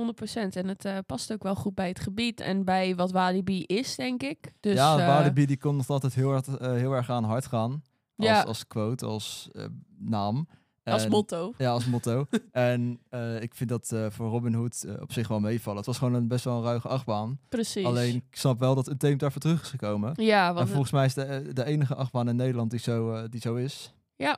C: En het eh, past ook wel goed bij het gebied en bij wat Walibi is, denk ik. Dus,
B: ja,
C: eh,
B: Walibi die kon nog altijd heel, hard, eh, heel erg aan hard gaan. Als,
C: Ja.
B: als quote, als eh, naam.
C: Als
B: En-
C: motto.
B: Ja, als motto. en eh, ik vind dat eh, voor Robin Hood eh, op zich wel meevallen. Het was gewoon een, best wel een ruige achtbaan.
C: Precies.
B: Alleen ik snap wel dat een team daarvoor terug is gekomen.
C: ja,
B: en
C: want het-
B: volgens mij is de, eh, de enige achtbaan in Nederland die zo, eh, die zo is.
C: Ja.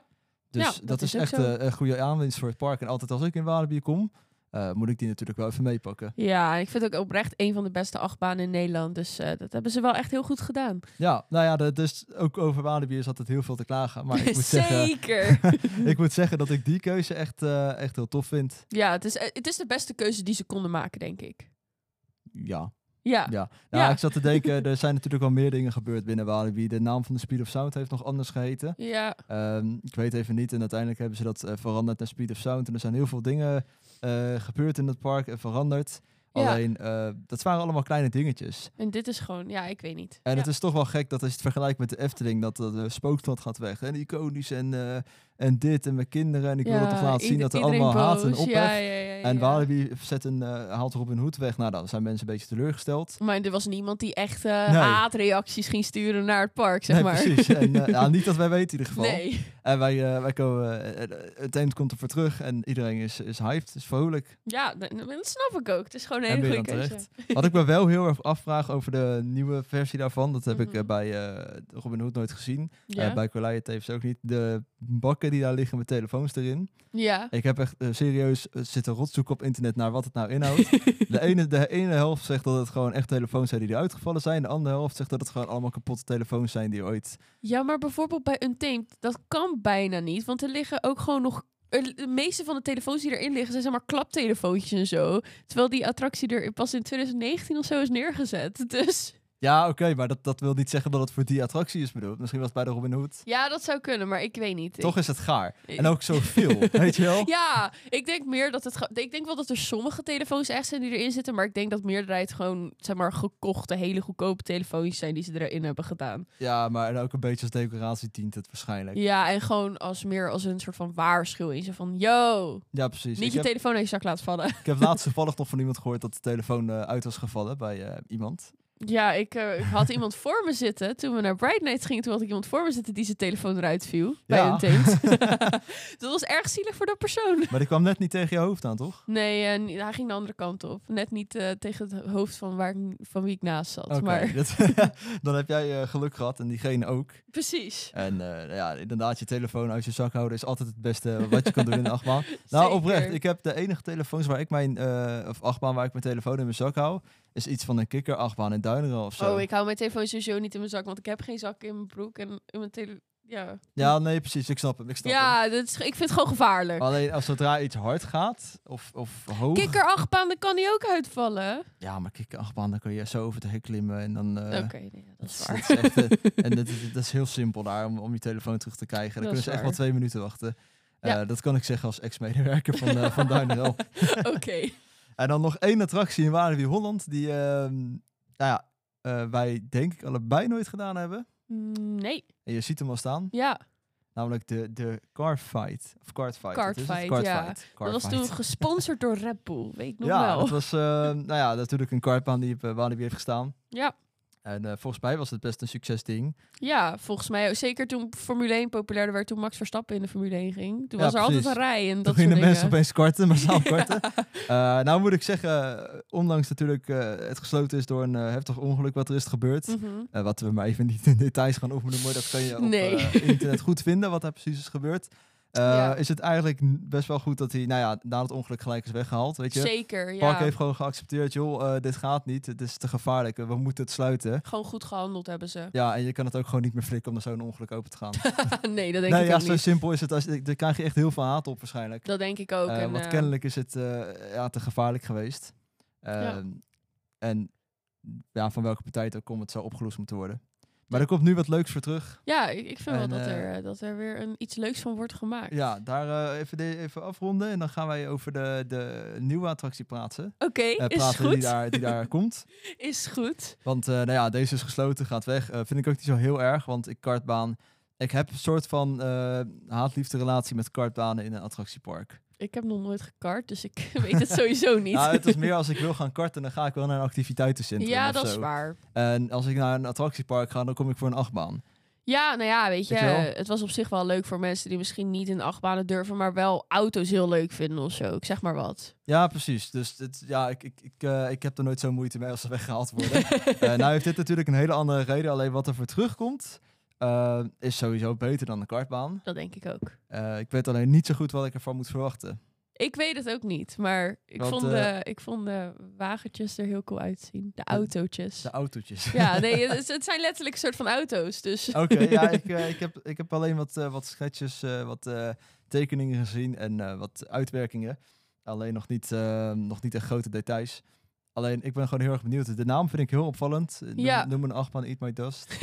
B: Dus
C: Ja,
B: dat,
C: dat
B: is
C: is ook
B: echt
C: zo.
B: eh, een goede aanwinst voor het park. En altijd als ik in Walibi kom, eh, moet ik die natuurlijk wel even meepakken.
C: Ja, ik vind het ook oprecht een van de beste achtbanen in Nederland. Dus eh, dat hebben ze wel echt heel goed gedaan.
B: Ja, nou ja, dat is ook over Walibi is altijd heel veel te klagen. Maar ik moet zeggen,
C: Zeker.
B: ik moet zeggen dat ik die keuze echt, eh, echt heel tof vind.
C: ja, het is, eh, het is de beste keuze die ze konden maken, denk ik.
B: Ja.
C: Ja,
B: Ja, nou,
C: Ja.
B: ik zat te denken, er zijn natuurlijk wel meer dingen gebeurd binnen Walibi. De naam van de Speed of Sound heeft nog anders geheten.
C: ja.
B: Ehm, ik weet even niet. En uiteindelijk hebben ze dat eh, veranderd naar Speed of Sound. En er zijn heel veel dingen eh, gebeurd in het park en veranderd.
C: Ja.
B: Alleen, eh, dat waren allemaal kleine dingetjes.
C: En dit is gewoon, ja, ik weet niet.
B: En
C: ja.
B: het is toch wel gek dat als je het vergelijkt met de Efteling, dat de spookstad gaat weg. En iconisch en, eh, en dit en mijn kinderen. En ik wil
C: Ja,
B: het toch laten zien
C: ieder-
B: dat er
C: iedereen
B: allemaal haat en
C: boos.
B: ophef.
C: Ja, ja, ja, ja,
B: En
C: ja.
B: Walibi zet een, eh, haalt erop hun hoed weg. Nou, dan zijn mensen een beetje teleurgesteld.
C: Maar er was niemand die echt eh,
B: Nee.
C: haatreacties ging sturen naar het park, zeg
B: Nee,
C: maar.
B: Precies. En, eh, ja, niet dat wij weten in ieder geval.
C: Nee,
B: En wij, eh, wij komen, eh, eh, het eind komt er voor terug en iedereen is, is hyped, is vrolijk.
C: ja, dat dat snap ik ook. Het is gewoon een
B: En
C: hele
B: weer
C: goede
B: dan
C: keuze.
B: terecht. Wat ik me wel heel erg afvraag over de nieuwe versie daarvan, dat heb ik eh,
C: Mhm.
B: bij eh, Robin Hood nooit gezien.
C: Ja.
B: Eh, bij Collier Tapes ook niet. De bakken die daar liggen met telefoons erin.
C: ja.
B: Ik heb echt eh, serieus eh, zitten rotzoeken op internet naar wat het nou inhoudt. de, ene, de ene helft zegt dat het gewoon echt telefoons zijn die eruit gevallen zijn. De andere helft zegt dat het gewoon allemaal kapotte telefoons zijn die ooit...
C: ja, maar bijvoorbeeld bij Untamed, dat kan bijna niet. Want er liggen ook gewoon nog... er- De meeste van de telefoons die erin liggen zijn zeg maar klaptelefoontjes en zo. Terwijl die attractie er pas in 2019 of zo is neergezet. Dus
B: Ja, oké, maar dat, dat wil niet zeggen dat het voor die attractie is bedoeld. Misschien was het bij de Robin Hood.
C: ja, dat zou kunnen, maar ik weet niet.
B: Toch
C: Ik-
B: is het gaar. En ook zoveel, weet je wel?
C: Eh, Ja, ik denk meer dat het. ge- Ik denk wel dat er sommige telefoons echt zijn die erin zitten. Maar ik denk dat meerderheid gewoon, zeg maar, gekochte, hele goedkope telefoons zijn die ze erin hebben gedaan.
B: Ja, maar en ook een beetje als decoratie dient het waarschijnlijk. Ja,
C: Ja, en gewoon als meer als een soort van waarschuwing. Zo van: yo,
B: precies.
C: niet
B: Dus Ik
C: je
B: heb,
C: telefoon uit je zak laten vallen.
B: ik heb laatst toevallig nog van iemand gehoord dat de telefoon eh, uit was gevallen bij eh, iemand.
C: Ja, ik, eh, ik had iemand voor me zitten toen we naar Bright Nights gingen. Toen had ik iemand voor me zitten die zijn telefoon eruit viel. Bij
B: Ja.
C: een teent. dat was erg zielig voor dat persoon.
B: Maar die kwam net niet tegen je hoofd aan, toch?
C: Nee, eh, ni- hij ging de andere kant op. Net niet eh, tegen het hoofd van, waar, ik- van wie ik naast zat.
B: Oké,
C: Maar
B: dat- dan heb jij eh, geluk gehad en diegene ook.
C: precies.
B: En eh, ja, inderdaad, je telefoon uit je zak houden is altijd het beste wat je kan doen in de achtbaan. Nou,
C: Zeker.
B: oprecht. Ik heb de enige telefoons waar ik mijn, eh, of achtbaan waar ik mijn telefoon in mijn zak hou, is iets van een kikker achtbaan in Duineren of zo.
C: Oh, ik hou mijn telefoon sowieso niet in mijn zak, want ik heb geen zak in mijn broek en in mijn telefoon. Ja,
B: Ja, nee, precies. Ik snap hem. Ik Oh. snap hem.
C: ja dat is, ik vind het gewoon gevaarlijk.
B: Alleen als zodra iets hard gaat of, of hoog.
C: Kikker achtbaan, dan kan die ook uitvallen.
B: Ja, maar kikker achtbaan, dan kun je zo over de hek klimmen en dan. eh,
C: Oké, nee, ja, dat
B: dat
C: is
B: is-
C: waar.
B: dat is echt, eh, en dat, is- dat is heel simpel daar om, om je telefoon terug te krijgen. Dan
C: Dat
B: kunnen
C: is
B: ze echt wel
C: waar.
B: twee minuten wachten. Eh,
C: Ja.
B: dat kan ik zeggen als ex-medewerker van, eh van Duinrel.
C: Oké.
B: En dan nog één attractie in Walibi Holland die ehm, nou ja, eh, wij denk ik allebei nooit gedaan hebben.
C: Mm, Nee,
B: En je ziet hem al staan,
C: ja.
B: namelijk de, de car fight. Of card fight. wat is het?
C: Kartfight,
B: Kartfight,
C: ja. dat was
B: kartfight.
C: toen gesponsord door Red Bull, weet ik nog
B: Ja,
C: wel.
B: dat was eh, nou ja, natuurlijk een kartbaan die op eh, Walibi heeft gestaan.
C: Ja.
B: En eh, volgens mij was het best een succesding.
C: Ja, volgens mij. ook. Zeker toen Formule 1 populairder werd, toen Max Verstappen in de Formule 1 ging. Toen
B: Ja,
C: was er
B: precies.
C: altijd een rij en
B: Toen
C: dat
B: gingen
C: soort
B: de mensen
C: dingen.
B: opeens karten, massaal karten. Eh, nou moet ik zeggen, eh, ondanks natuurlijk eh, het gesloten is door een eh, heftig ongeluk wat er is gebeurd.
C: Mhm.
B: Eh, wat we maar even niet in details gaan opnoemen, maar dat kan je op
C: Nee.
B: eh, internet goed vinden, wat daar precies is gebeurd. Eh,
C: Ja.
B: Is het eigenlijk n- best wel goed dat hij, nou ja, na het ongeluk gelijk is weggehaald, weet je?
C: Zeker, ja.
B: Park heeft gewoon geaccepteerd, joh, eh, dit gaat niet, het is te gevaarlijk, eh, we moeten het sluiten.
C: Gewoon goed gehandeld hebben ze.
B: Ja, en je kan het ook gewoon niet meer flikken om naar zo'n ongeluk open te gaan.
C: nee, dat denk
B: nee,
C: ik
B: ja,
C: ook
B: zo
C: niet.
B: simpel is het. Als, daar krijg je echt heel veel haat op waarschijnlijk.
C: Dat denk ik ook.
B: Eh,
C: en,
B: want
C: eh,
B: kennelijk is het eh, ja, te gevaarlijk geweest.
C: Ja.
B: Ehm, En ja, van welke partij het ook komt, het zou opgelost moeten worden. Maar er komt nu wat leuks voor terug.
C: Ja, ik, ik
B: En,
C: vind wel dat
B: eh,
C: er, eh, dat er weer een, iets leuks van wordt gemaakt.
B: Ja, daar eh, even, de- even afronden. En dan gaan wij over de, de nieuwe attractie praten.
C: Oké,
B: Eh,
C: is
B: praten
C: goed.
B: die daar, die daar komt.
C: Is goed.
B: Want eh, nou ja, deze is gesloten, gaat weg. Eh, vind ik ook niet zo heel erg, want ik kartbaan... Ik heb een soort van eh haat-liefde relatie met kartbanen in een attractiepark.
C: Ik heb nog nooit gekart, dus ik weet het sowieso niet.
B: Nou, het is meer als ik wil gaan karten, dan ga ik wel naar een activiteitencentrum
C: ja,
B: of
C: dat is
B: zo.
C: waar.
B: En als ik naar een attractiepark ga, dan kom ik voor een achtbaan.
C: Ja, nou ja, weet je,
B: Weet je wel?
C: eh, het was op zich wel leuk voor mensen die misschien niet in de achtbanen durven, maar wel auto's heel leuk vinden of zo. Ik zeg maar wat.
B: Ja, precies. Dus het, ja, ik, ik, ik, eh, ik heb er nooit zo moeite mee als ze weggehaald worden. Eh, nou heeft dit natuurlijk een hele andere reden. Alleen wat er voor terugkomt, eh, is sowieso beter dan de kartbaan.
C: Dat denk ik ook.
B: Eh, ik weet alleen niet zo goed wat ik ervan moet verwachten.
C: Ik weet het ook niet, maar ik,
B: Want,
C: vond,
B: eh,
C: de, ik vond de wagentjes er heel cool uitzien. De autootjes.
B: De autootjes.
C: Ja, nee, het, het zijn letterlijk een soort van auto's. Dus
B: Oké, ja, ik, eh, ik, heb, ik heb alleen wat, eh, wat schetsjes, eh, wat eh, tekeningen gezien en eh, wat uitwerkingen. Alleen nog niet, eh, nog niet echt grote details. Alleen, ik ben gewoon heel erg benieuwd. De naam vind ik heel opvallend. Noem,
C: Ja.
B: noem een achtbaan Eat My Dust.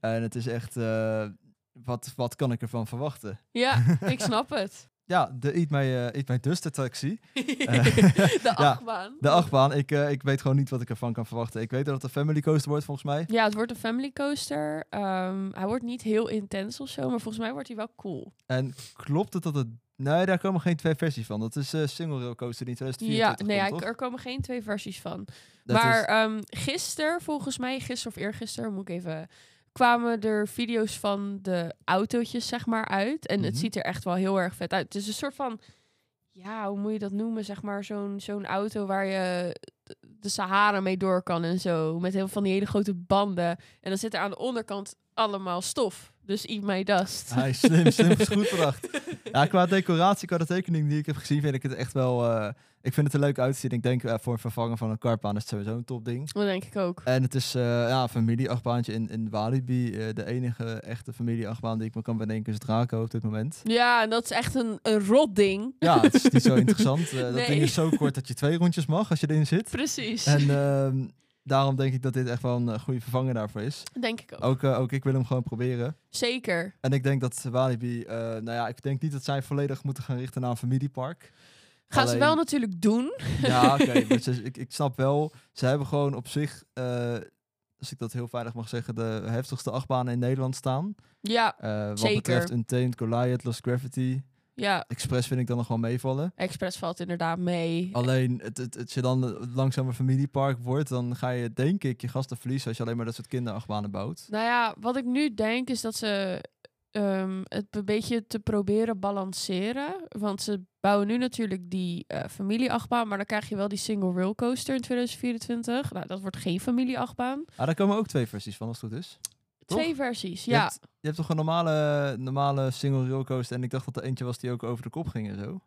B: en het is echt, eh, wat, wat kan ik ervan verwachten?
C: ja, ik snap het.
B: Ja, de Eat My, eh, Eat My Dust attractie.
C: de
B: Eh, ja,
C: achtbaan.
B: De achtbaan, ik, eh, ik weet gewoon niet wat ik ervan kan verwachten. Ik weet dat het een family coaster wordt volgens mij.
C: Ja, het wordt een family coaster. Ehm, hij wordt niet heel intens of zo, maar volgens mij wordt hij wel cool.
B: En klopt het dat het... Nee, daar komen geen twee versies van. Dat is eh single rail coaster die in
C: Ja,
B: 2024
C: nee,
B: komt,
C: hij-
B: toch?
C: er komen geen twee versies van.
B: Dat
C: maar
B: is-
C: ehm gisteren, volgens mij, gisteren of eergisteren, moet ik even... kwamen er video's van de autootjes, zeg maar, uit. En het
B: Mhm.
C: ziet er echt wel heel erg vet uit. Het is een soort van... Ja, hoe moet je dat noemen, zeg maar? Zo'n zo'n auto waar je de- de Sahara mee door kan en zo. Met heel van die hele grote banden. En dan zit er aan de onderkant allemaal stof. Dus eat my dust.
B: Hij is slim, slim is goed bedacht. Ja, qua decoratie, qua de tekening die ik heb gezien, vind ik het echt wel... eh, ik vind het er leuk uitzien. Ik denk eh, voor een vervanger van een kartbaan is het sowieso een topding.
C: Dat denk ik ook.
B: En het is eh ja, een familieachtbaantje in, in Walibi. eh, de enige echte familieachtbaan die ik me kan bedenken is Draco op dit moment.
C: Ja, en dat is echt een, een rot ding.
B: Ja, het is niet zo interessant. Eh, Dat
C: Nee.
B: ding is zo kort dat je twee rondjes mag als je erin zit.
C: Precies.
B: En ehm, daarom denk ik dat dit echt wel een eh, goede vervanger daarvoor is.
C: denk ik ook.
B: Ook, eh, ook ik wil hem gewoon proberen.
C: Zeker.
B: En ik denk dat Walibi, eh, nou ja, ik denk niet dat zij volledig moeten gaan richten naar een familiepark.
C: Gaan ze
B: Alleen-
C: wel natuurlijk doen.
B: Ja, oké, maar ze- ik, ik snap wel, ze hebben gewoon op zich, eh, als ik dat heel veilig mag zeggen, de heftigste achtbanen in Nederland staan.
C: Ja,
B: Eh, wat
C: Zeker.
B: betreft Untamed, Goliath, Lost Gravity,
C: ja.
B: Express vind ik dan nog wel meevallen.
C: Express valt inderdaad mee.
B: Alleen, het, het, als je dan langzaam een familiepark wordt, dan ga je denk ik je gasten verliezen als je alleen maar dat soort kinderachtbanen bouwt.
C: Nou ja, wat ik nu denk is dat ze ehm, het een beetje te proberen balanceren. Want ze bouwen nu natuurlijk die eh familieachtbaan. Maar dan krijg je wel die single rail coaster in 2024. Nou, dat wordt geen familieachtbaan.
B: Ah, daar komen ook twee versies van, als het goed is. Toch?
C: Twee versies,
B: Je
C: ja.
B: hebt- Je hebt toch een normale, normale single rail coaster en ik dacht dat er eentje was die ook over de kop ging en zo.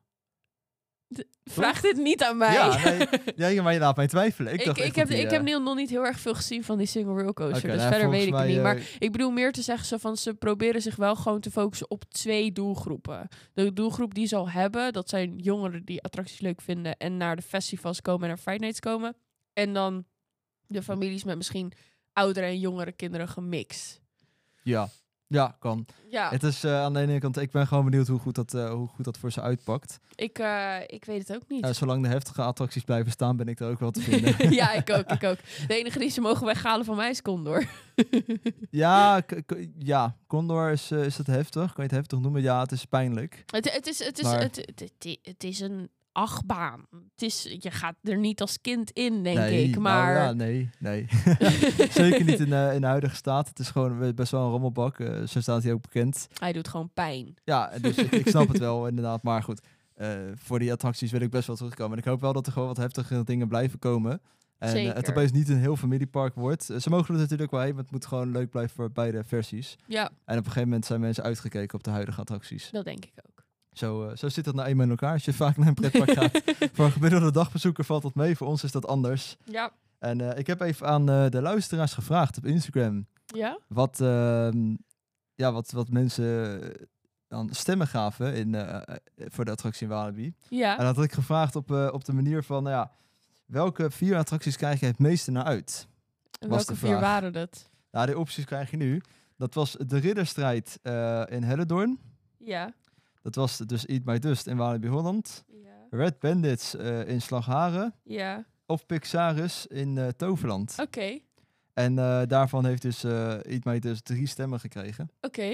C: Vraag dit niet aan mij.
B: Ja, nee, ja, ja, maar je laat mij twijfelen. Ik,
C: Ik,
B: dacht
C: ik,
B: echt
C: heb,
B: dat die,
C: ik
B: eh,
C: heb niet- nog niet heel erg veel gezien van die single rail coaster.
B: oké,
C: dus
B: nou ja,
C: verder weet ik het
B: volgens
C: niet.
B: mij,
C: Maar ik bedoel meer te zeggen zo van ze proberen zich wel gewoon te focussen op twee doelgroepen. De doelgroep die ze al hebben, dat zijn jongeren die attracties leuk vinden en naar de festivals komen en naar Friday Nights komen. En dan de families met misschien oudere en jongere kinderen gemixt.
B: eh, ja, ja, kan.
C: Ja,
B: Het is eh, aan de ene kant, ik ben gewoon benieuwd hoe goed dat, eh, hoe goed dat voor ze uitpakt.
C: ik, eh, ik weet het ook niet.
B: Eh, zolang de heftige attracties blijven staan, ben ik er ook wel te vinden.
C: ja, ik ook, ik ook. De enige die ze mogen weghalen van mij is Condor.
B: ja, k- k- ja, Condor is, eh, is dat heftig. Kan je het heftig noemen? Ja, het is pijnlijk.
C: Het, het, is, het, is,
B: Maar-
C: het, het, het- het is een achtbaan. Het is, je gaat er niet als kind in, denk
B: nee,
C: ik.
B: nou
C: Maar
B: ja, nee, nee. Zeker niet in, eh, in de huidige staat. Het is gewoon best wel een rommelbak. eh, zo staat hij ook bekend.
C: hij doet gewoon pijn.
B: Ja, dus ik, ik snap het wel inderdaad. Maar goed, eh, voor die attracties wil ik best wel terugkomen. En ik hoop wel dat er gewoon wat heftige dingen blijven komen. En eh, het
C: Zeker.
B: opeens niet een heel familiepark wordt. Eh, ze mogen er natuurlijk wel heen, want het moet gewoon leuk blijven voor beide versies.
C: Ja,
B: En op een gegeven moment zijn mensen uitgekeken op de huidige attracties.
C: dat denk ik ook.
B: Zo, eh, zo zit dat nou eenmaal in elkaar. Als je vaak naar een pretpark gaat, voor een gemiddelde dagbezoeker valt dat mee. Voor ons is dat anders.
C: Ja,
B: En eh, ik heb even aan eh, de luisteraars gevraagd op Instagram
C: ja.
B: wat, ehm, ja, wat, wat mensen aan stemmen gaven in, eh, eh, voor de attractie in Walibi.
C: ja.
B: En dat had ik gevraagd op, eh, op de manier van, nou ja, welke vier attracties krijg je het meeste naar uit?
C: En
B: was
C: welke
B: de
C: vier
B: vraag.
C: waren dat?
B: Nou, die opties krijg je nu. Dat was de ridderstrijd eh, in Helledorn.
C: Ja.
B: Dat was dus Eat My Dust in Walibi Holland.
C: Ja.
B: Red Bandits eh, in Slagharen.
C: ja.
B: Of Pixaris in eh, Toverland.
C: Oké.
B: En eh, daarvan heeft dus eh Eat My Dust drie stemmen gekregen.
C: Oké.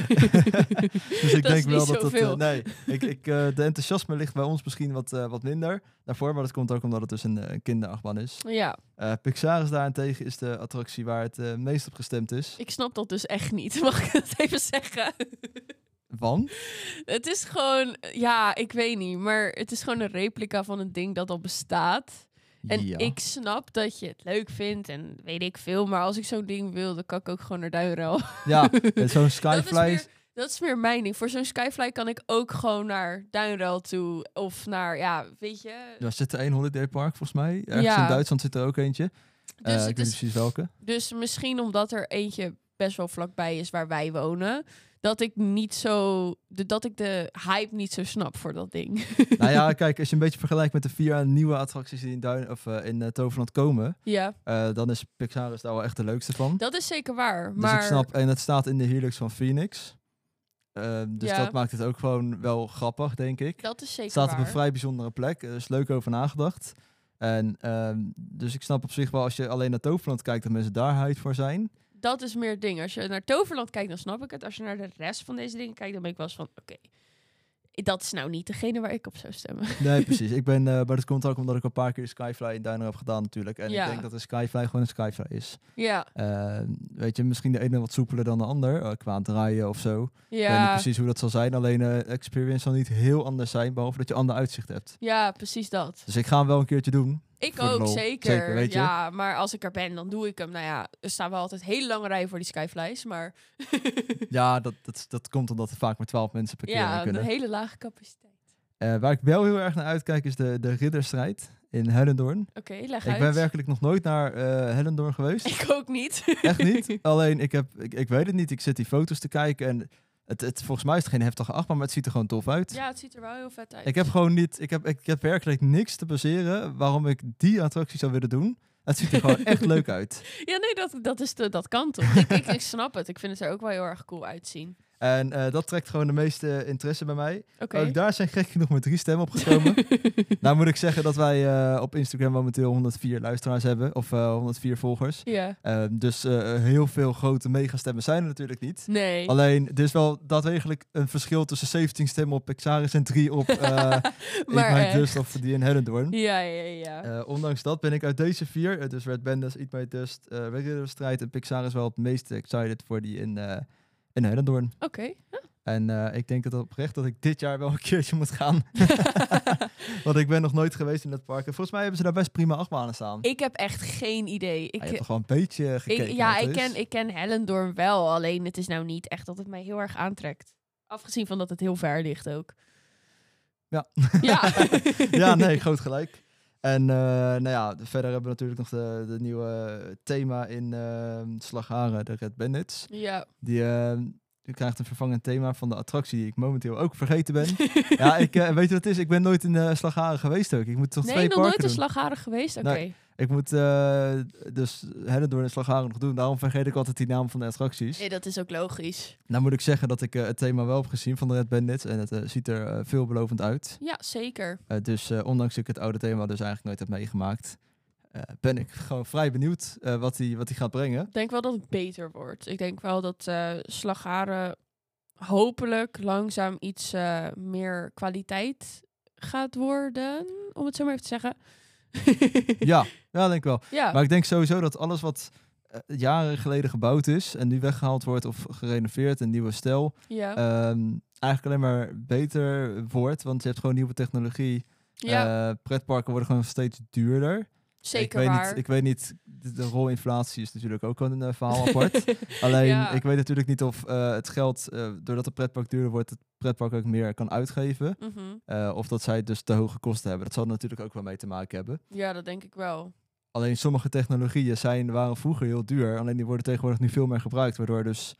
B: Dus ik
C: Dat is
B: denk wel dat
C: niet
B: dat... eh,
C: zoveel.
B: nee, ik, ik, eh, de enthousiasme ligt bij ons misschien wat, eh, wat minder daarvoor. Maar dat komt ook omdat het dus een eh, kinderachtbaan is.
C: Ja,
B: Eh Pixaris daarentegen is de attractie waar het eh, meest op gestemd is.
C: ik snap dat dus echt niet. Mag ik dat even zeggen?
B: Want?
C: Het is gewoon, ja, ik weet niet, maar het is gewoon een replica van een ding dat al bestaat. En
B: Ja.
C: ik snap dat je het leuk vindt en weet ik veel. Maar als ik zo'n ding wil, dan kan ik ook gewoon naar Duinruil.
B: Ja, eh, zo'n
C: Dat is
B: Skyfly.
C: weer Dat is meer mijn ding. Voor zo'n Skyfly kan ik ook gewoon naar Duinruil toe. Of naar, ja, weet je.
B: Er zit er één holiday park volgens mij. Ergens
C: Ja.
B: in Duitsland zit er ook eentje. Eh,
C: Dus,
B: ik weet niet
C: dus,
B: precies welke.
C: dus misschien omdat er eentje best wel vlakbij is waar wij wonen. Dat ik niet zo. De, dat ik de hype niet zo snap voor dat ding.
B: nou ja, kijk, als je een beetje vergelijkt met de vier nieuwe attracties die in, Duin, of, eh, in eh, Toverland komen,
C: ja,
B: eh, dan is Pixaris daar wel echt de leukste van.
C: dat is zeker waar.
B: Dus
C: maar
B: ik snap, en dat staat in de Helix van Phoenix. Eh, dus
C: Ja.
B: dat maakt het ook gewoon wel grappig, denk ik.
C: dat is zeker
B: Het staat
C: waar.
B: op een vrij bijzondere plek. Er is leuk over nagedacht. En, ehm, dus ik snap op zich wel, als je alleen naar Toverland kijkt, dat mensen daar hyped voor zijn.
C: dat is meer het ding. Als je naar Toverland kijkt, dan snap ik het. Als je naar de rest van deze dingen kijkt, dan ben ik wel eens van... Oké, dat is nou niet degene waar ik op zou stemmen.
B: Nee, precies. Ik ben, eh, maar dat komt ook omdat ik een paar keer de Skyfly in Duino heb gedaan natuurlijk. En
C: Ja.
B: ik denk dat de Skyfly gewoon een Skyfly is.
C: ja,
B: Eh, weet je, misschien de ene wat soepeler dan de ander, eh, qua draaien of zo. Ik weet niet
C: ja,
B: precies hoe dat zal zijn, alleen eh, de experience zal niet heel anders zijn, behalve dat je ander uitzicht hebt.
C: ja, precies dat.
B: Dus ik ga hem wel een keertje doen.
C: Ik
B: Voor de
C: ook,
B: lol.
C: zeker.
B: Zeker, weet je.
C: Ja, maar als ik er ben, dan doe ik hem. Nou ja, er staan wel altijd hele lange rijen voor die skyflies, maar...
B: Ja, dat, dat, dat komt omdat er vaak maar 12 mensen per keer in
C: ja, een
B: kunnen.
C: hele lage capaciteit.
B: Eh, waar ik wel heel erg naar uitkijk is de, de ridderstrijd in Hellendoorn.
C: Oké, leg
B: Ik
C: uit.
B: ben werkelijk nog nooit naar eh Hellendoorn geweest.
C: Ik ook niet.
B: Echt niet. Alleen, ik, heb, ik, ik weet het niet. Ik zit die foto's te kijken en het, het, volgens mij is het geen heftige achtbaan, maar het ziet er gewoon tof uit.
C: ja, het ziet er wel heel vet uit.
B: Ik heb gewoon niet, ik heb, ik heb werkelijk niks te baseren waarom ik die attractie zou willen doen. Het ziet er gewoon echt leuk uit.
C: Ja, nee, dat, dat, is de, dat kan toch? ik, ik, ik snap het. Ik vind het er ook wel heel erg cool uitzien.
B: En eh, dat trekt gewoon de meeste interesse bij mij.
C: Oké.
B: Ook daar zijn gek genoeg maar drie stemmen op gekomen. nou moet ik zeggen dat wij eh, op Instagram momenteel 104 luisteraars hebben. Of eh, 104 volgers.
C: Ja.
B: Ehm, dus eh, heel veel grote megastemmen zijn er natuurlijk niet.
C: Nee.
B: Alleen, er is wel daadwerkelijk een verschil tussen 17 stemmen op Pixaris en 3 op eh Ik Might
C: echt.
B: Dust of die in Hellendoorn.
C: Ja, ja, ja.
B: Eh, ondanks dat ben ik uit deze vier, eh, dus Red Bandits, Eat My Dust, eh Red Riddler Strijd en Pixaris wel het meest excited voor die in, eh in Hellendoorn.
C: Oké.
B: En eh, ik denk dat het oprecht dat ik dit jaar wel een keertje moet gaan. Want ik ben nog nooit geweest in dat park. En volgens mij hebben ze daar best prima achtbanen staan.
C: Ik heb echt geen idee.
B: Ah,
C: Ik,
B: je hebt toch wel een beetje eh,
C: ik-
B: gekeken
C: ja,
B: wat het
C: ik
B: is?
C: ken, ik ken Hellendoorn wel, alleen het is nou niet echt dat het mij heel erg aantrekt. Afgezien van dat het heel ver ligt ook.
B: Ja.
C: Ja.
B: ja, nee, groot gelijk. En eh, nou ja, de- verder hebben we natuurlijk nog de, de nieuwe thema in ehm, Slagharen, de Red Bandits.
C: Ja.
B: Die, ehm, die krijgt een vervangend thema van de attractie die ik momenteel ook vergeten ben. ja, ik, eh, weet je wat het is? Ik ben nooit in eh Slagharen geweest ook. Ik moet toch
C: Nee,
B: twee
C: nog
B: parken
C: nooit een
B: doen.
C: slagharig geweest? Oké.
B: Ik moet eh, dus Hellendoorn en Slagharen nog doen. Daarom vergeet ik altijd die naam van de attracties.
C: Nee, dat is ook logisch.
B: Nou moet ik zeggen dat ik eh, het thema wel heb gezien van de Red Bandits. En het eh, ziet er eh, veelbelovend uit.
C: Ja, zeker.
B: Eh, dus eh, ondanks dat ik het oude thema dus eigenlijk nooit heb meegemaakt, eh, ben ik gewoon vrij benieuwd eh, wat hij wat die gaat brengen.
C: Ik denk wel dat het beter wordt. Ik denk wel dat eh slagharen hopelijk langzaam iets eh, meer kwaliteit gaat worden. Om het zo maar even te zeggen.
B: ja, ja, denk ik wel.
C: ja.
B: Maar ik denk sowieso dat alles wat eh, jaren geleden gebouwd is en nu weggehaald wordt of gerenoveerd, een nieuwe stijl,
C: ja.
B: ehm, eigenlijk alleen maar beter wordt. Want je hebt gewoon nieuwe technologie.
C: ja.
B: Eh, pretparken worden gewoon steeds duurder. ik
C: Zeker
B: weet
C: waar.
B: Niet, ik weet niet, de, de rol inflatie is natuurlijk ook wel een eh, verhaal apart. Alleen,
C: Ja.
B: ik weet natuurlijk niet of eh, het geld, eh, doordat het pretpark duurder wordt, het pretpark ook meer kan uitgeven.
C: Mhm.
B: Eh, of dat zij dus te hoge kosten hebben. Dat zal er natuurlijk ook wel mee te maken hebben.
C: Ja, dat denk ik wel.
B: Alleen sommige technologieën zijn, waren vroeger heel duur. Alleen die worden tegenwoordig nu veel meer gebruikt, waardoor dus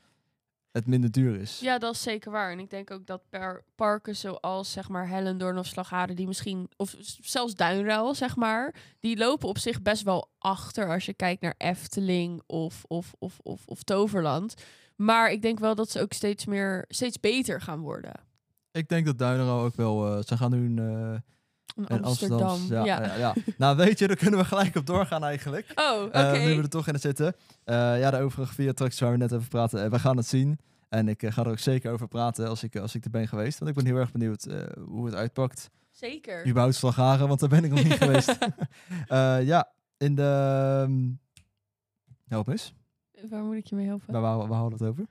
B: het minder duur is.
C: Ja, dat is zeker waar. En ik denk ook dat per parken zoals zeg maar Hellendoorn of Slagharen, die misschien, of s- zelfs Duinruil, zeg maar, die lopen op zich best wel achter als je kijkt naar Efteling of, of, of, of, of Toverland. Maar ik denk wel dat ze ook steeds meer, steeds beter gaan worden.
B: Ik denk dat Duinero ook wel, eh, ze gaan nu een, eh,
C: In
B: een
C: Amsterdam.
B: Amsterdams-
C: ja.
B: ja, ja. nou weet je, daar kunnen we gelijk op doorgaan eigenlijk.
C: Oh, oké.
B: Eh, nu we er toch in zitten. Eh, ja, de overige vier attracties waar we net over praten, eh, we gaan het zien. En ik eh, ga er ook zeker over praten als ik, eh, als ik er ben geweest. Want ik ben heel erg benieuwd eh, hoe het uitpakt.
C: Zeker.
B: Überhaupt Slagharen, want daar ben ik nog niet geweest. Eh, ja, in de... ehm, help eens.
C: Waar moet ik je mee helpen?
B: Waar, waar, waar hadden we het over?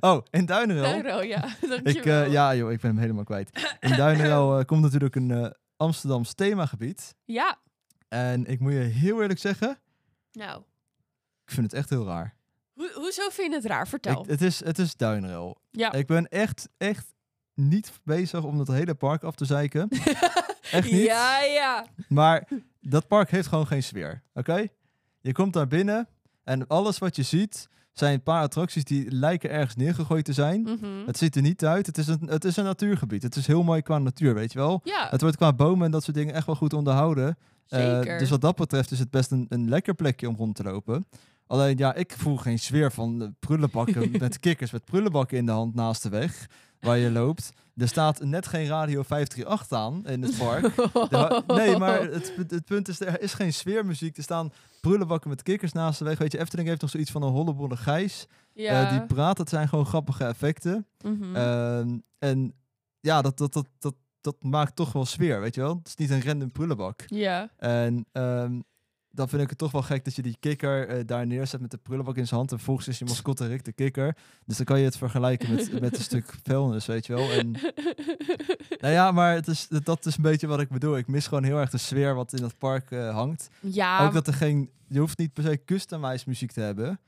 B: Oh, in Duinerel.
C: Duinruil, ja.
B: Ik, eh,
C: Dankjewel.
B: ja joh, ik ben hem helemaal kwijt. In Duinerel eh, komt natuurlijk een eh, Amsterdams themagebied.
C: ja,
B: En ik moet je heel eerlijk zeggen,
C: nou.
B: ik vind het echt heel raar.
C: Ho- hoezo vind je het raar? Vertel.
B: Ik- eh, het, is, het is duinrel.
C: ja.
B: Ik ben echt, echt niet bezig om dat hele park af te zeiken. echt niet.
C: Ja, ja.
B: Maar dat park heeft gewoon geen sfeer. Oké? Je komt daar binnen en alles wat je ziet zijn een paar attracties die lijken ergens neergegooid te zijn.
C: Mhm.
B: Het ziet er niet uit. Het is, een, het is een natuurgebied. Het is heel mooi qua natuur, weet je wel.
C: Ja,
B: Het wordt qua bomen en dat soort dingen echt wel goed onderhouden. Eh,
C: zeker.
B: dus wat dat betreft is het best een, een lekker plekje om rond te lopen. Alleen ja, ik voel geen sfeer van eh, prullenbakken met kikkers met prullenbakken in de hand naast de weg waar je loopt. Er staat net geen radio 538 aan in het park. Ja, nee, maar eh, het, pu- het punt is, er is geen sfeermuziek. Er staan prullenbakken met kikkers naast de weg. Weet je, Efteling heeft nog zoiets van een hollebolle gijs.
C: Ja.
B: Eh, die praat, dat zijn gewoon grappige effecten.
C: Mhm.
B: Ehm, en ja, dat, dat, dat, dat, dat maakt toch wel sfeer, weet je wel? Het is niet een random prullenbak.
C: ja.
B: En ehm, dan vind ik het toch wel gek dat je die kikker eh, daar neerzet met de prullenbak in zijn hand. En volgens is je mascotte Rick de kikker. Dus dan kan je het vergelijken met, met een stuk vuilnis, weet je wel? En nou ja, maar het is, dat- dat is een beetje wat ik bedoel. Ik mis gewoon heel erg de sfeer wat in dat park eh, hangt.
C: ja,
B: Ook dat er geen... Je hoeft niet per se customized muziek te hebben.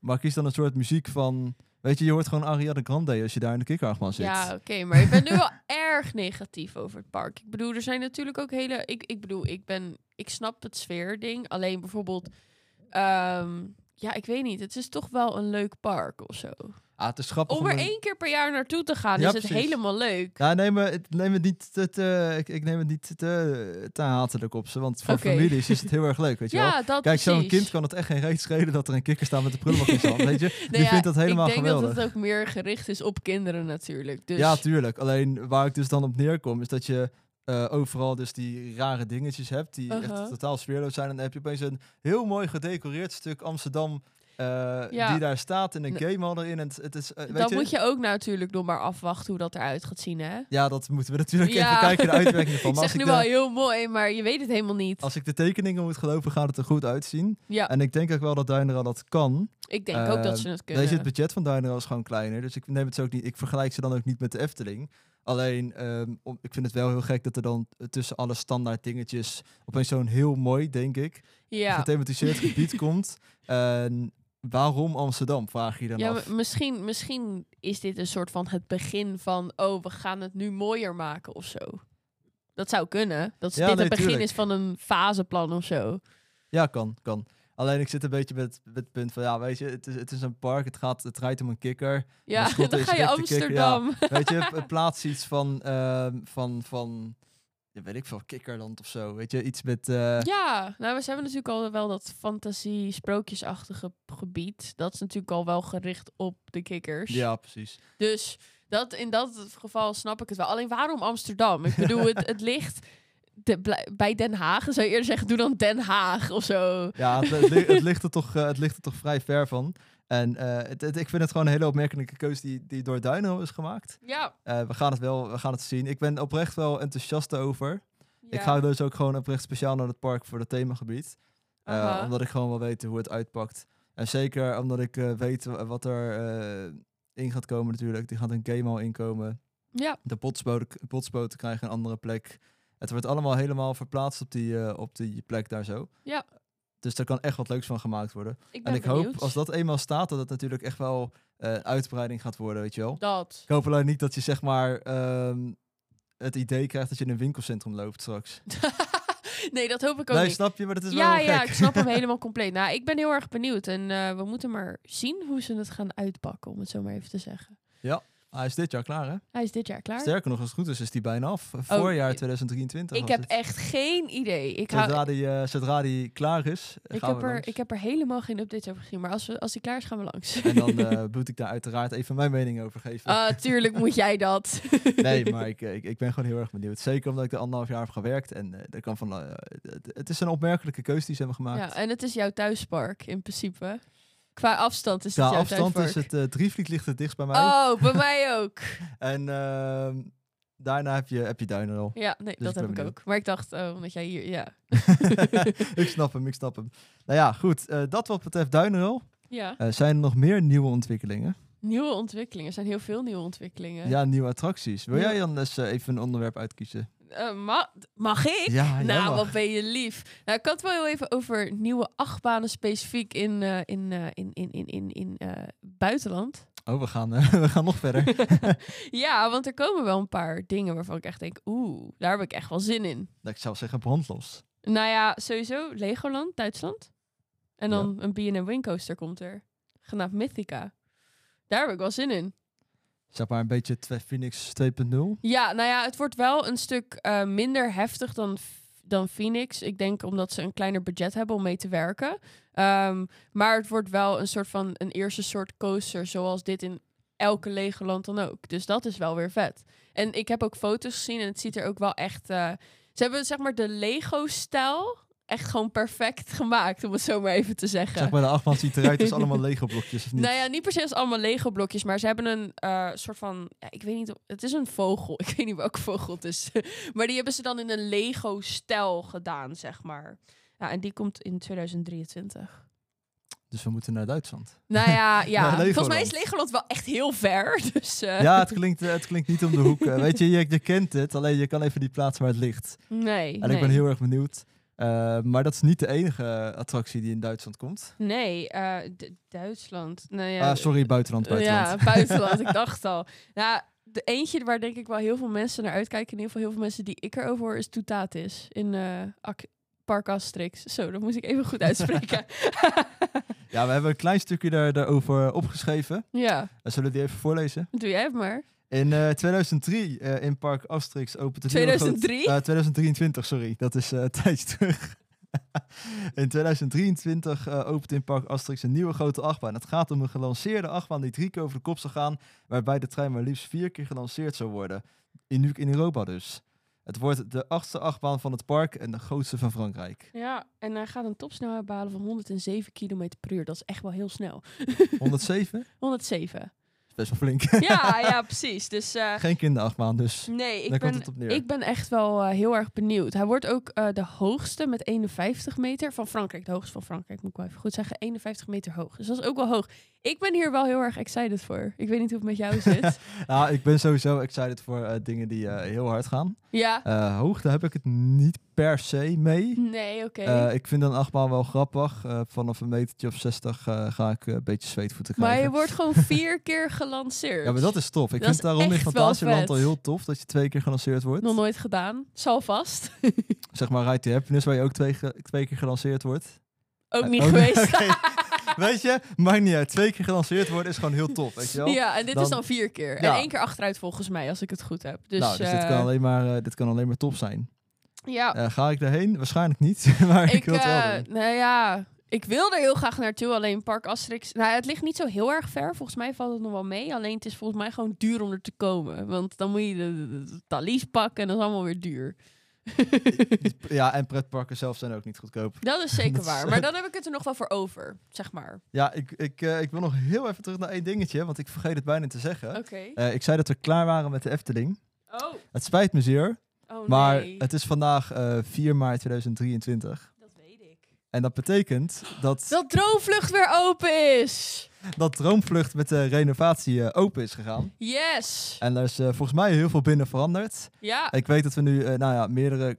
B: Maar kies dan een soort muziek van... Weet je, je hoort gewoon Ariana Grande als je daar in de kikkeragman zit.
C: ja oké, maar je bent nu wel erg negatief over het park. Ik bedoel, er zijn natuurlijk ook hele... Ik, ik bedoel, ik ben... Ik snap het sfeerding. Alleen bijvoorbeeld... ehm, ja, ik weet niet. Het is toch wel een leuk park of zo.
B: Ah, het is grappig.
C: Om er
B: een-
C: één keer per jaar naartoe te gaan
B: Ja,
C: is het
B: precies.
C: helemaal leuk.
B: Ja, neem het, neem het niet te, te- ik, ik neem het niet te, te hatelijk op ze. Want voor
C: Oké.
B: families is het heel erg leuk, weet je
C: ja,
B: wel.
C: dat
B: Kijk, zo'n
C: precies.
B: kind kan het echt geen reet schelen dat er een kikker staat met de prullenbak in zijn hand, weet je. Die
C: Nou ja,
B: vindt dat helemaal
C: Ik denk
B: geweldig.
C: dat het ook meer gericht is op kinderen natuurlijk. Dus,
B: Ja, tuurlijk. Alleen waar ik dus dan op neerkom, is dat je eh, overal dus die rare dingetjes hebt die
C: Aha.
B: echt totaal sfeerloos zijn. En dan heb je opeens een heel mooi gedecoreerd stuk Amsterdam eh,
C: Ja.
B: die daar staat in een
C: Nee.
B: game hall erin. En het, het is, eh, weet
C: dan
B: je,
C: moet je ook natuurlijk nog maar afwachten hoe dat eruit gaat zien, hè?
B: Ja, dat moeten we natuurlijk
C: Ja.
B: even kijken, de uitwerking ervan.
C: Ik
B: Maar als
C: zeg
B: ik,
C: nu
B: de,
C: wel heel mooi, maar je weet het helemaal niet.
B: als ik de tekeningen moet geloven, gaat het er goed uitzien.
C: Ja,
B: En ik denk ook wel dat Duinera dat kan.
C: ik denk ook dat
B: eh,
C: ze het kunnen.
B: Weet je, het budget van Duinera is gewoon kleiner. Dus ik neem het ze ook niet. Ik vergelijk ze dan ook niet met de Efteling. Alleen, ehm, om- ik vind het wel heel gek dat er dan tussen alle standaard dingetjes opeens zo'n heel mooi, denk ik,
C: ja,
B: gethematiseerd gebied komt. En waarom Amsterdam, vraag je je dan
C: ja
B: af.
C: maar misschien, misschien is dit een soort van het begin van... oh, we gaan het nu mooier maken of zo. Dat zou kunnen. Dat
B: Ja,
C: dit
B: nee,
C: het begin
B: tuurlijk.
C: is van een faseplan of zo.
B: Ja, kan, kan. Alleen ik zit een beetje met, met het punt van, ja, weet je, het is, het is een park, het, gaat, het draait om een kikker.
C: Ja,
B: Mascotte
C: dan
B: is
C: ga je
B: Rick de Kikker, ja.
C: Amsterdam.
B: Weet je, p- plaats iets van, ehm, van, van ja, weet ik veel, kikkerland of zo. Weet je, iets met... eh,
C: Ja, nou, we hebben natuurlijk al wel dat fantasie-sprookjesachtige gebied. Dat is natuurlijk al wel gericht op de kikkers.
B: ja, precies.
C: Dus dat, in dat geval snap ik het wel. Alleen waarom Amsterdam? Ik bedoel, het, het ligt de, blij- bij Den Haag. Dan Zou je eerder zeggen, doe dan Den Haag of zo.
B: Ja, het, het, li- het ligt er toch, eh, het ligt er toch vrij ver van. En eh, het, het- ik vind het gewoon een hele opmerkelijke keuze die, die door Duino is gemaakt.
C: Ja.
B: Eh, we gaan het wel we gaan het zien. Ik ben oprecht wel enthousiast over. Ik ga dus ook gewoon oprecht speciaal naar het park voor het themagebied. Eh,
C: Aha.
B: Omdat ik gewoon wil weten hoe het uitpakt. En zeker omdat ik eh, weet wa- wat er eh, in gaat komen natuurlijk. Die gaat een game al inkomen.
C: ja.
B: De potsboten, potsboten krijgen een andere plek. Het wordt allemaal helemaal verplaatst op die, eh, op die plek daar zo.
C: Ja.
B: Dus daar kan echt wat leuks van gemaakt worden.
C: Ik ben
B: En ik
C: benieuwd.
B: hoop, als dat eenmaal staat, dat het natuurlijk echt wel eh, een uitbreiding gaat worden, weet je wel.
C: Dat.
B: Ik hoop alleen niet dat je zeg maar ehm, het idee krijgt dat je in een winkelcentrum loopt straks.
C: nee, dat hoop ik ook
B: Nee,
C: niet.
B: snap je? Maar dat is
C: Ja,
B: wel
C: ja,
B: gek.
C: ik snap hem helemaal compleet. Nou, ik ben heel erg benieuwd. En eh, we moeten maar zien hoe ze het gaan uitpakken, om het zo maar even te zeggen.
B: Hij is dit jaar klaar, hè?
C: Hij is dit jaar klaar. Oh,
B: Sterker nog, als het goed is, is die bijna af. Voorjaar 2023
C: Ik
B: was
C: heb
B: het.
C: echt geen idee. Ik, hou,
B: Zodra die, eh, zodra die klaar is, eh,
C: ik,
B: gaan
C: heb
B: we
C: er,
B: langs.
C: ik heb er helemaal geen updates over gezien. Maar als, we, als die klaar is, gaan we langs.
B: En dan eh moet ik daar uiteraard even mijn mening over geven.
C: Ah, tuurlijk moet jij dat.
B: Nee, maar ik, ik, ik ben gewoon heel erg benieuwd. Zeker omdat ik er anderhalf jaar heb gewerkt. En eh, er kan van, eh, het, het is een opmerkelijke keuze die ze hebben gemaakt.
C: Ja, en het is jouw thuispark in principe. Qua afstand is het
B: Qua
C: jouw
B: afstand is
C: thuispark.
B: het eh Drievliet ligt het dichtst bij mij.
C: Oh, bij mij ook.
B: En ehm, daarna heb je, heb je Duinen al.
C: Ja, nee, dat
B: Dus ik ben
C: heb ik
B: benieuwd.
C: ook. Maar ik dacht, oh, omdat jij hier, ja.
B: ik snap hem, ik snap hem. Nou ja, goed. eh, dat wat betreft Duinenrol.
C: ja.
B: Eh, zijn er nog meer nieuwe ontwikkelingen?
C: Nieuwe ontwikkelingen. Er zijn heel veel nieuwe ontwikkelingen.
B: Ja, nieuwe attracties. Wil
C: Ja.
B: jij dan eens eh, even een onderwerp uitkiezen?
C: Eh, ma- mag ik?
B: Ja,
C: nou,
B: ja,
C: wat ben je lief. Nou, ik kan het wel heel even over nieuwe achtbanen specifiek in, eh, in, eh, in, in, in, in, in eh, buitenland.
B: Oh, we gaan, eh, we gaan nog verder.
C: ja, want er komen wel een paar dingen waarvan ik echt denk, oeh, daar heb ik echt wel zin in.
B: Dat ik zou zeggen brandlos.
C: Nou ja, sowieso Legoland, Duitsland. En dan een B&M Wincoaster komt er. Genaamd Mythica. Daar heb ik wel zin in.
B: Zeg maar een beetje Twe- Phoenix 2.0.
C: Ja, nou ja, het wordt wel een stuk eh, minder heftig dan, dan Phoenix. Ik denk omdat ze een kleiner budget hebben om mee te werken. Ehm, maar het wordt wel een soort van een eerste soort coaster, zoals dit in elke Legoland dan ook. Dus dat is wel weer vet. En ik heb ook foto's gezien en het ziet er ook wel echt. eh, ze hebben zeg maar de Lego-stijl echt gewoon perfect gemaakt, om het zo maar even te zeggen.
B: Zeg maar de achtbaan ziet eruit als allemaal Lego blokjes of niet.
C: Nou ja, niet per se als allemaal Lego blokjes, maar ze hebben een eh, soort van, ja, ik weet niet, of- het is een vogel, ik weet niet welke vogel het is, maar die hebben ze dan in een Lego stijl gedaan, zeg maar. Ja, en die komt in 2023.
B: Dus we moeten naar Duitsland.
C: Nou ja, ja.
B: Naar
C: volgens mij is
B: Legoland.
C: Legoland wel echt heel ver, dus. eh,
B: Ja, het klinkt, eh, het klinkt niet om de hoek. Eh, weet je, je, je kent het, alleen je kan even niet plaatsen waar het ligt.
C: Nee.
B: En ik ben heel erg benieuwd. Eh, maar dat is niet de enige attractie die in Duitsland komt.
C: Nee, eh, D- Duitsland. Nou ja.
B: Ah, sorry, buitenland, buitenland.
C: Ja, buitenland. ik dacht al. Nou, de eentje waar denk ik wel heel veel mensen naar uitkijken, in ieder geval heel veel mensen die ik erover hoor, is Toetatis in eh, Ak- Park Asterix. Zo, dat moest ik even goed uitspreken.
B: Ja, we hebben een klein stukje daar, daarover opgeschreven.
C: ja,
B: Eh, Zullen we die even voorlezen?
C: doe jij het maar.
B: In eh, 2003 eh, in Park Asterix opent het nieuwe grote-
C: 2003?
B: Eh, 2023, sorry. Dat is eh tijds terug. in 2023 eh, opent in Park Asterix een nieuwe grote achtbaan. Het gaat om een gelanceerde achtbaan die drie keer over de kop zal gaan... waarbij de trein maar liefst vier keer gelanceerd zou worden. In, nu- in Europa dus. Het wordt de achtste achtbaan van het park en de grootste van Frankrijk.
C: Ja, en hij gaat een topsnelheid behalen van 107 km per uur. Dat is echt wel heel snel.
B: 107?
C: 107.
B: Is Best wel flink.
C: Ja, ja, precies. Dus eh,
B: Geen kinderachtbaan, dus
C: nee, ik
B: daar
C: ben,
B: komt het op neer.
C: Ik ben echt wel eh, heel erg benieuwd. Hij wordt ook eh, de hoogste met 51 meter van Frankrijk. De hoogste van Frankrijk, moet ik wel even goed zeggen. 51 meter hoog. Dus dat is ook wel hoog. Ik ben hier wel heel erg excited voor. Ik weet niet hoe het met jou zit.
B: Nou, ik ben sowieso excited voor eh, dingen die eh, heel hard gaan.
C: ja.
B: Eh, hoogte heb ik het niet per se mee.
C: Nee, oké.
B: Eh, ik vind een achtbaan wel grappig. Eh, vanaf een metertje of 60 eh, ga ik eh, een beetje zweetvoeten
C: maar
B: krijgen.
C: je wordt gewoon vier keer gelanceerd.
B: Ja, maar dat is tof. Ik
C: Dat
B: vind
C: is
B: daarom in
C: echt wel
B: Fantasieland
C: vet.
B: al heel tof dat je twee keer gelanceerd wordt.
C: nog nooit gedaan. Zal vast.
B: Zeg maar Ride to Happiness, waar je ook twee, ge- twee keer gelanceerd wordt.
C: ook
B: Eh,
C: niet
B: oh, nee,
C: geweest.
B: oké. Weet je, maakt niet uit. Twee keer gelanceerd worden is gewoon heel tof, weet je wel?
C: ja, en dit is
B: Dan-
C: dan vier keer.
B: Ja.
C: En één keer achteruit volgens mij, als ik het goed heb. Dus,
B: nou, dus dit,
C: eh,
B: kan alleen maar, eh, dit kan alleen maar top zijn.
C: ja.
B: Eh, ga ik daarheen? Waarschijnlijk niet, maar ik, wil het wel
C: eh,
B: doen.
C: nou ja, ik wil er heel graag naartoe. Alleen Park Asterix... Nou, het ligt niet zo heel erg ver. Volgens mij valt het nog wel mee. Alleen het is volgens mij gewoon duur om er te komen. Want dan moet je de, de, de talies pakken en dat is allemaal weer duur.
B: Ja, en pretparken zelf zijn ook niet goedkoop.
C: Dat is zeker
B: Dat is-
C: waar. Maar dan heb ik het er nog wel voor over, zeg maar.
B: Ja, ik, ik, eh, ik wil nog heel even terug naar één dingetje, want ik vergeet het bijna te zeggen.
C: Oké.
B: Eh, ik zei dat we klaar waren met de Efteling.
C: Oh,
B: Het spijt me zeer,
C: oh
B: maar
C: nee.
B: het is vandaag eh, 4 maart 2023.
C: Dat weet ik.
B: En dat betekent dat
C: Dat Droomvlucht weer open is!
B: dat Droomvlucht met de renovatie eh, open is gegaan.
C: Yes!
B: En er is eh, volgens mij heel veel binnen veranderd.
C: Ja,
B: Ik weet dat we nu, eh, nou ja, meerdere...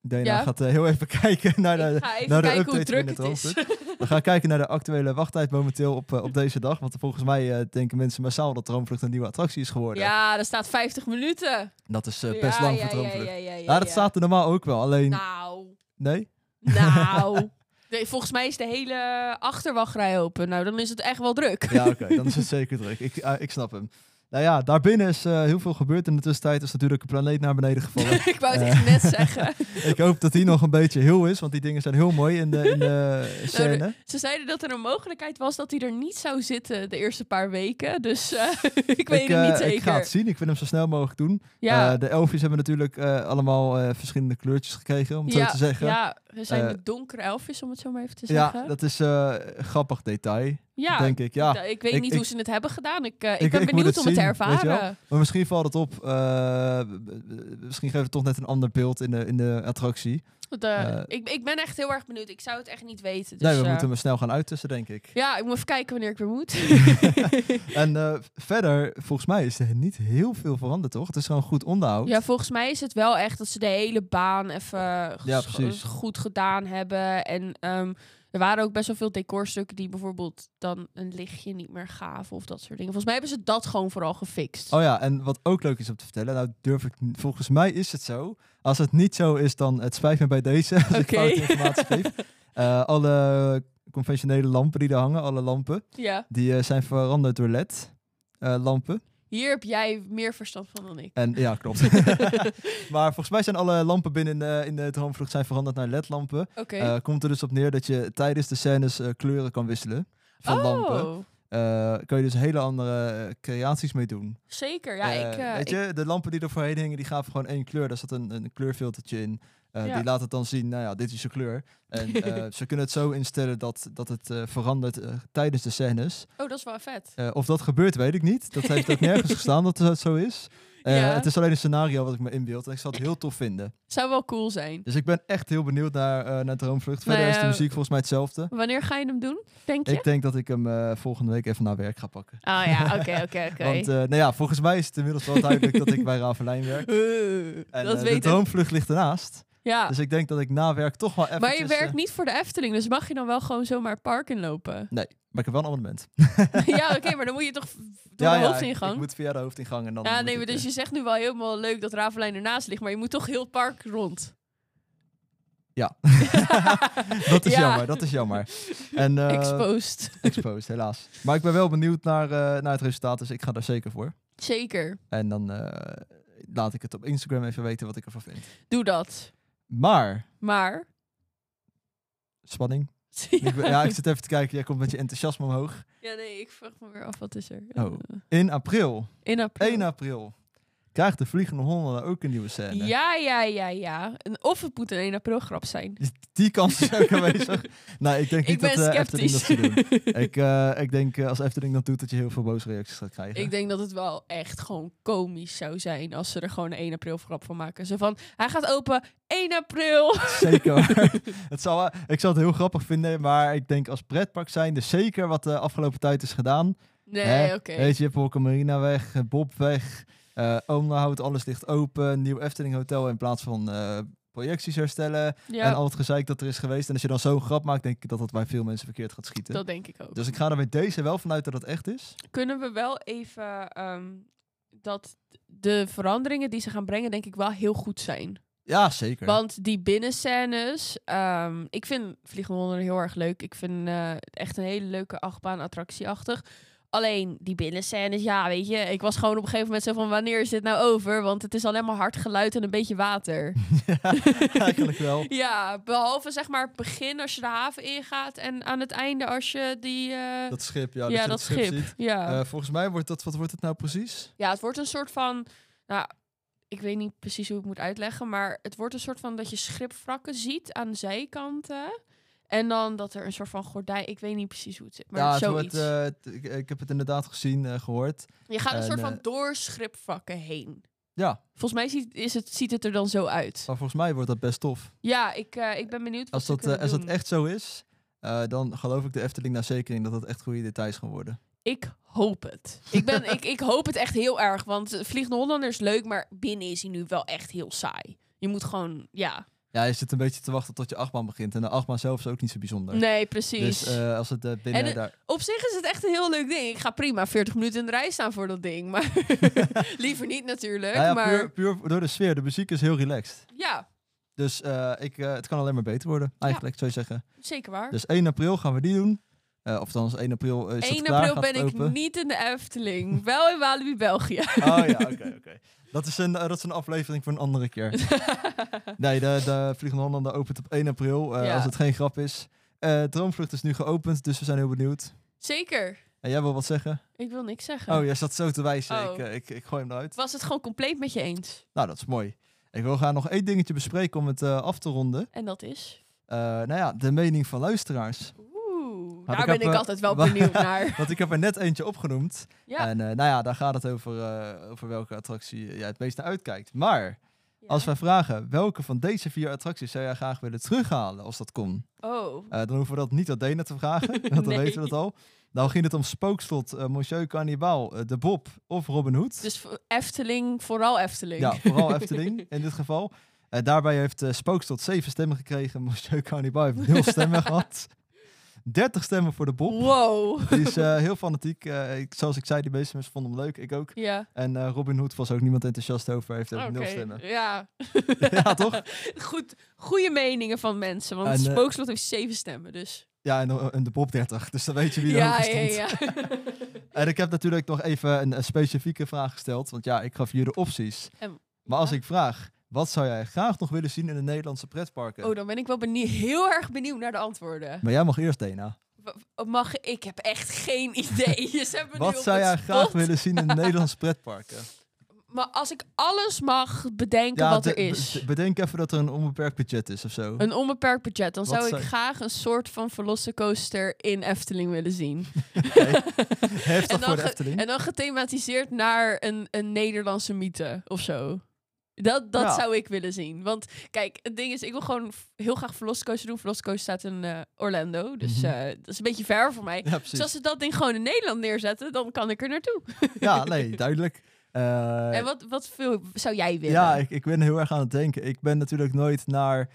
B: Dana
C: Ja.
B: gaat eh, heel even kijken naar de...
C: ik ga even
B: naar nou, de
C: kijken hoe
B: update
C: druk het
B: binnen
C: is.
B: We gaan kijken naar de actuele wachttijd momenteel op, eh, op deze dag. Want volgens mij eh, denken mensen massaal dat Droomvlucht een nieuwe attractie is geworden.
C: Ja, er staat 50 minuten.
B: Dat is eh, best lang voor Droomvlucht.
C: Ja, ja, ja,
B: Ja, dat
C: ja.
B: staat er normaal ook wel. Alleen,
C: Nou...
B: nee?
C: Nou, nee, volgens mij is de hele achterwachtrij open. Nou, dan is het echt wel druk.
B: Ja, oké, dan is het zeker druk. Ik, ah, ik snap hem. Nou ja, daarbinnen is eh, heel veel gebeurd in de tussentijd. is natuurlijk een planeet naar beneden gevallen.
C: ik wou het echt net
B: Eh.
C: zeggen.
B: ik hoop dat die nog een beetje heel is, want die dingen zijn heel mooi in de, in de
C: Nou,
B: scène.
C: de- ze zeiden dat er een mogelijkheid was dat hij er niet zou zitten de eerste paar weken. Dus eh, ik weet het
B: eh,
C: niet zeker.
B: Ik ga het zien. Ik wil hem zo snel mogelijk doen.
C: ja,
B: Eh, de elfjes hebben natuurlijk eh, allemaal eh, verschillende kleurtjes gekregen, om het
C: ja,
B: zo te zeggen.
C: ja, er zijn
B: Eh,
C: de donkere elfjes, om het zo maar even te
B: Ja,
C: zeggen.
B: dat is eh, een grappig detail.
C: Ja,
B: denk ik. Ja.
C: Nou, ik weet
B: ik-
C: niet
B: ik-
C: hoe ze het hebben gedaan. Ik, eh, ik,
B: ik
C: ben
B: moet
C: benieuwd
B: het
C: om het te
B: zien, weet je wel.
C: ervaren.
B: Maar misschien valt het op. eh, b- b- misschien geeft het toch net een ander beeld in de, in de attractie.
C: Want, eh,
B: Eh,
C: ik, ik ben echt heel erg benieuwd. Ik zou het echt niet weten. Dus,
B: nee, we
C: eh,
B: moeten hem snel gaan uittussen, denk ik.
C: Ja, ik moet even kijken wanneer ik weer moet.
B: En eh, verder, volgens mij is er niet heel veel veranderd, toch? Het is gewoon goed onderhoud.
C: ja, volgens mij is het wel echt dat ze de hele baan even
B: Ja,
C: ges-
B: precies.
C: goed gedaan hebben. En ehm, er waren ook best wel veel decorstukken die bijvoorbeeld dan een lichtje niet meer gaven of dat soort dingen. Volgens mij hebben ze dat gewoon vooral gefixt.
B: Oh ja, en wat ook leuk is om te vertellen, nou durf ik, n- volgens mij is het zo. Als het niet zo is, dan het spijt me bij deze. Als ik
C: Oké.
B: foute informatie geef. Eh, alle conventionele lampen die er hangen, alle lampen,
C: Ja,
B: die eh, zijn veranderd door eh, LED-lampen.
C: hier heb jij meer verstand van dan ik.
B: en ja, klopt. maar volgens mij zijn alle lampen binnen in de, in de droomvlucht zijn veranderd naar LED-lampen.
C: Oké.
B: Eh, komt er dus op neer dat je tijdens de scènes eh, kleuren kan wisselen van
C: oh,
B: lampen. Eh, kun je dus hele andere eh, creaties mee doen.
C: zeker. Ja,
B: Eh,
C: ik, eh,
B: weet
C: ik-
B: je, de lampen die er voorheen hingen, die gaven gewoon één kleur. Daar zat een, een kleurfiltertje in. Eh,
C: Ja.
B: Die laat het dan zien, nou ja, dit is je kleur. En eh, ze kunnen het zo instellen dat, dat het eh, verandert eh, tijdens de scènes.
C: Oh, dat is wel vet.
B: Eh, of dat gebeurt, weet ik niet. Dat heeft ook nergens gestaan dat het zo is. Eh,
C: Ja.
B: Het is alleen een scenario wat ik me inbeeld. En ik zou het heel tof vinden.
C: Zou wel cool zijn.
B: Dus ik ben echt heel benieuwd naar, eh, naar Droomvlucht.
C: Nou
B: Verder is de
C: ja,
B: muziek volgens mij hetzelfde.
C: Wanneer ga je hem doen, denk je?
B: Ik denk dat ik hem eh, volgende week even naar werk ga pakken.
C: Oh ja, oké, oké, oké.
B: Want eh, nou ja, volgens mij is het inmiddels wel duidelijk dat ik bij Ravelijn werk.
C: Eh,
B: En
C: Dat
B: eh, de
C: weet ik.
B: droomvlucht ligt ernaast.
C: Ja,
B: Dus ik denk dat ik na werk toch wel eh, even.
C: maar je werkt niet voor de Efteling, dus mag je dan wel gewoon zomaar het park inlopen?
B: Nee, maar ik heb wel een abonnement.
C: ja, oké, maar dan moet je toch v- door
B: ja,
C: de
B: ja, ik-
C: hoofdingang?
B: Ik, moet via de hoofdingang en dan.
C: ja,
B: moet
C: nee,
B: ik,
C: maar dus
B: eh,
C: je zegt nu wel helemaal leuk dat Ravelijn ernaast ligt, maar je moet toch heel het park rond.
B: Ja. dat is
C: Ja.
B: jammer, dat is jammer. En, eh,
C: Exposed.
B: exposed, helaas. Maar ik ben wel benieuwd naar, eh, naar het resultaat, dus ik ga daar zeker voor.
C: Zeker,
B: En dan eh, laat ik het op Instagram even weten wat ik ervan vind.
C: doe dat.
B: Maar,
C: Maar...
B: spanning.
C: Ja.
B: Ik ben- ja, ik zit even te kijken, jij komt met je enthousiasme omhoog.
C: Ja, nee, ik vraag me weer af, wat is er?
B: Oh.
C: Eh,
B: In april,
C: In april.
B: 1 april, krijgt de Vliegende Hollander ook een nieuwe scène.
C: Ja, ja, ja, ja. En of het moet een 1 april grap zijn.
B: Dus Die kans is ook aanwezig. Nou, ik denk
C: Ik
B: niet
C: ben
B: dat eh, Efteling dat
C: sceptisch.
B: zou doen. Ik, eh, ik denk eh, als Efteling dat doet, dat je heel veel boze reacties gaat krijgen.
C: Ik denk dat het wel echt gewoon komisch zou zijn als ze er gewoon een 1 april grap van maken. Zo van, hij gaat open 1 april.
B: Zeker. waar. het zou, eh, ik zou het heel grappig vinden, maar ik denk als pretpark zijn, dus zeker wat de afgelopen tijd is gedaan.
C: Nee,
B: Hè?
C: oké.
B: Weet je, je hebt Holke Marina weg, eh, Bob weg, eh onderhoud, alles ligt open, nieuw Efteling Hotel in plaats van eh, projecties herstellen en
C: Ja,
B: al het gezeik dat er is geweest. En als je dan zo'n grap maakt, denk ik dat dat bij veel mensen verkeerd gaat schieten.
C: dat denk ik ook.
B: Dus ik ga er met deze wel vanuit dat het echt is.
C: Kunnen we wel even ehm, dat de veranderingen die ze gaan brengen, denk ik wel heel goed zijn.
B: Ja, zeker.
C: Want die binnenscènes, ehm, ik vind Vliegende Hollander heel erg leuk. Ik vind eh, het echt een hele leuke achtbaan, attractieachtig. Alleen die binnenscènes, ja, weet je, ik was gewoon op een gegeven moment zo van wanneer is dit nou over? Want het is alleen maar hard geluid en een beetje water.
B: ja, eigenlijk wel.
C: Ja, behalve zeg maar het begin als je de haven ingaat en aan het einde als je die... eh,
B: Dat schip, ja.
C: ja,
B: dat je
C: dat, schip.
B: ziet.
C: ja.
B: Eh, volgens mij wordt dat, wat wordt het nou precies?
C: ja, het wordt een soort van... Nou, ik weet niet precies hoe ik het moet uitleggen, maar het wordt een soort van dat je schipwrakken ziet aan de zijkanten. En dan dat er een soort van gordijn... Ik weet niet precies hoe het zit, maar
B: ja, het
C: zoiets.
B: wordt, eh, t- ik, ik heb het inderdaad gezien, eh, gehoord.
C: je gaat een
B: en,
C: soort van
B: eh,
C: door schipwrakken heen.
B: Ja,
C: Volgens mij ziet, is het, ziet het er dan zo uit.
B: maar volgens mij wordt dat best tof.
C: Ja, ik, eh, ik ben benieuwd wat
B: Als
C: ze
B: dat, eh,
C: kunnen
B: als dat
C: doen.
B: echt zo is, eh, dan geloof ik de Efteling naar zeker in dat dat echt goede details gaan worden.
C: Ik hoop het. Ik, ben, ik, ik hoop het echt heel erg. Want eh, Vliegende Hollander is leuk, maar binnen is hij nu wel echt heel saai. Je moet gewoon, ja.
B: Ja, je zit een beetje te wachten tot je achtbaan begint. En de achtbaan zelf is ook niet zo bijzonder.
C: Nee, precies.
B: Dus eh, als het eh, binnen
C: En het-
B: daar...
C: Op zich is het echt een heel leuk ding. Ik ga prima 40 minuten in de rij staan voor dat ding. Maar liever niet natuurlijk.
B: Nou ja,
C: maar
B: puur, puur door de sfeer. De muziek is heel relaxed.
C: ja,
B: Dus eh, ik, eh, het kan alleen maar beter worden, eigenlijk, zou je zeggen.
C: zeker waar.
B: Dus 1 april gaan we die doen. Eh of dan 1 april eh, is
C: 1
B: het klaar,
C: april
B: gaat
C: ben
B: het
C: ik
B: open.
C: niet in de Efteling. Wel in Walibi, België.
B: Oh ja, oké, oké. Dat, is een, eh, dat is een aflevering voor een andere keer. nee, de, de Vliegende Hollander opent op 1 april, eh,
C: Ja.
B: als het geen grap is. Eh Droomvlucht is nu geopend, dus we zijn heel benieuwd.
C: Zeker.
B: En jij wil wat zeggen?
C: Ik wil niks zeggen.
B: Oh, jij zat zo te wijzen.
C: Oh.
B: Ik, eh, ik, ik gooi hem eruit.
C: Was het gewoon compleet met je eens?
B: Nou, dat is mooi. Ik wil graag nog één dingetje bespreken om het eh, af te ronden.
C: En dat is?
B: Eh, nou ja, de mening van luisteraars.
C: Oeh, Daar ben ik altijd wel benieuwd naar.
B: Want ik heb er net eentje opgenoemd.
C: Ja.
B: En eh, nou ja, daar gaat het over, eh, over welke attractie jij het meest naar uitkijkt. Maar als wij vragen welke van deze vier attracties zou jij graag willen terughalen als dat kon,
C: Oh.
B: Eh, dan hoeven we dat niet aan Dena te vragen, want dan
C: Nee.
B: weten we dat al. Dan ging het om Spookslot, eh, Monsieur Cannibal, eh, De Bob of Robin Hood.
C: Dus v- Efteling, vooral Efteling.
B: Ja, vooral Efteling in dit geval. Eh, daarbij heeft eh Spookslot 7 stemmen gekregen. Monsieur Cannibal heeft 0 stemmen gehad. 30 stemmen voor de Bob.
C: Wow.
B: Die is eh, heel fanatiek. Eh, ik, zoals ik zei, die meeste mensen vonden hem leuk. Ik ook.
C: Ja.
B: En eh, Robin Hood was ook niemand enthousiast over. Heeft ook
C: Oké.
B: nul stemmen.
C: Ja.
B: ja, toch?
C: Goed, goede meningen van mensen. Want
B: En, eh,
C: Spookslot heeft zeven stemmen, dus.
B: Ja, en, eh, en de Bob 30. Dus dan weet je wie er
C: Ja,
B: hoger
C: ja,
B: stond.
C: ja.
B: En ik heb natuurlijk nog even een, eh, specifieke vraag gesteld. Want ja, ik gaf jullie de opties.
C: En-
B: maar als
C: ja.
B: ik vraag, wat zou jij graag nog willen zien in de Nederlandse pretparken?
C: Oh, dan ben ik wel benieu- heel erg benieuwd naar de antwoorden.
B: Maar jij mag eerst, Dena.
C: W- oh, Mag ik? heb echt geen idee. Je zet me nu
B: Wat
C: op
B: zou
C: het
B: jij graag
C: spot.
B: willen zien in de Nederlandse pretparken?
C: Maar als ik alles mag bedenken wat
B: de-
C: er is.
B: be- bedenk even dat er een onbeperkt budget is of zo.
C: Een onbeperkt budget. Dan
B: Wat
C: zou ik
B: zou-
C: graag een soort van Velocicoaster in Efteling willen zien.
B: Heftig voor de
C: ge-
B: Efteling.
C: en dan gethematiseerd naar een, een Nederlandse mythe of zo. Dat, dat
B: Ja.
C: zou ik willen zien. Want kijk, het ding is, ik wil gewoon f- heel graag Velocicoaster doen. Velocicoaster staat in eh, Orlando, dus
B: Mhm.
C: eh, dat is een beetje ver voor mij.
B: Ja,
C: Dus
B: precies.
C: als ze dat ding gewoon in Nederland neerzetten, dan kan ik er naartoe.
B: Ja, nee, duidelijk. Eh,
C: En wat, wat veel zou jij willen?
B: ja, ik, ik ben heel erg aan het denken. Ik ben natuurlijk nooit naar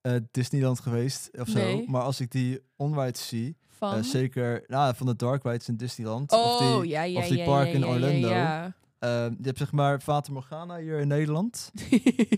B: eh, Disneyland geweest of zo.
C: Nee.
B: Maar als ik die onrides zie, eh,
C: van?
B: zeker nou, van de dark rides in Disneyland. of
C: oh,
B: die,
C: ja, ja,
B: of die
C: ja,
B: park
C: ja,
B: in
C: ja, ja,
B: Orlando.
C: Ja,
B: eh, je hebt zeg maar Fata Morgana hier in Nederland.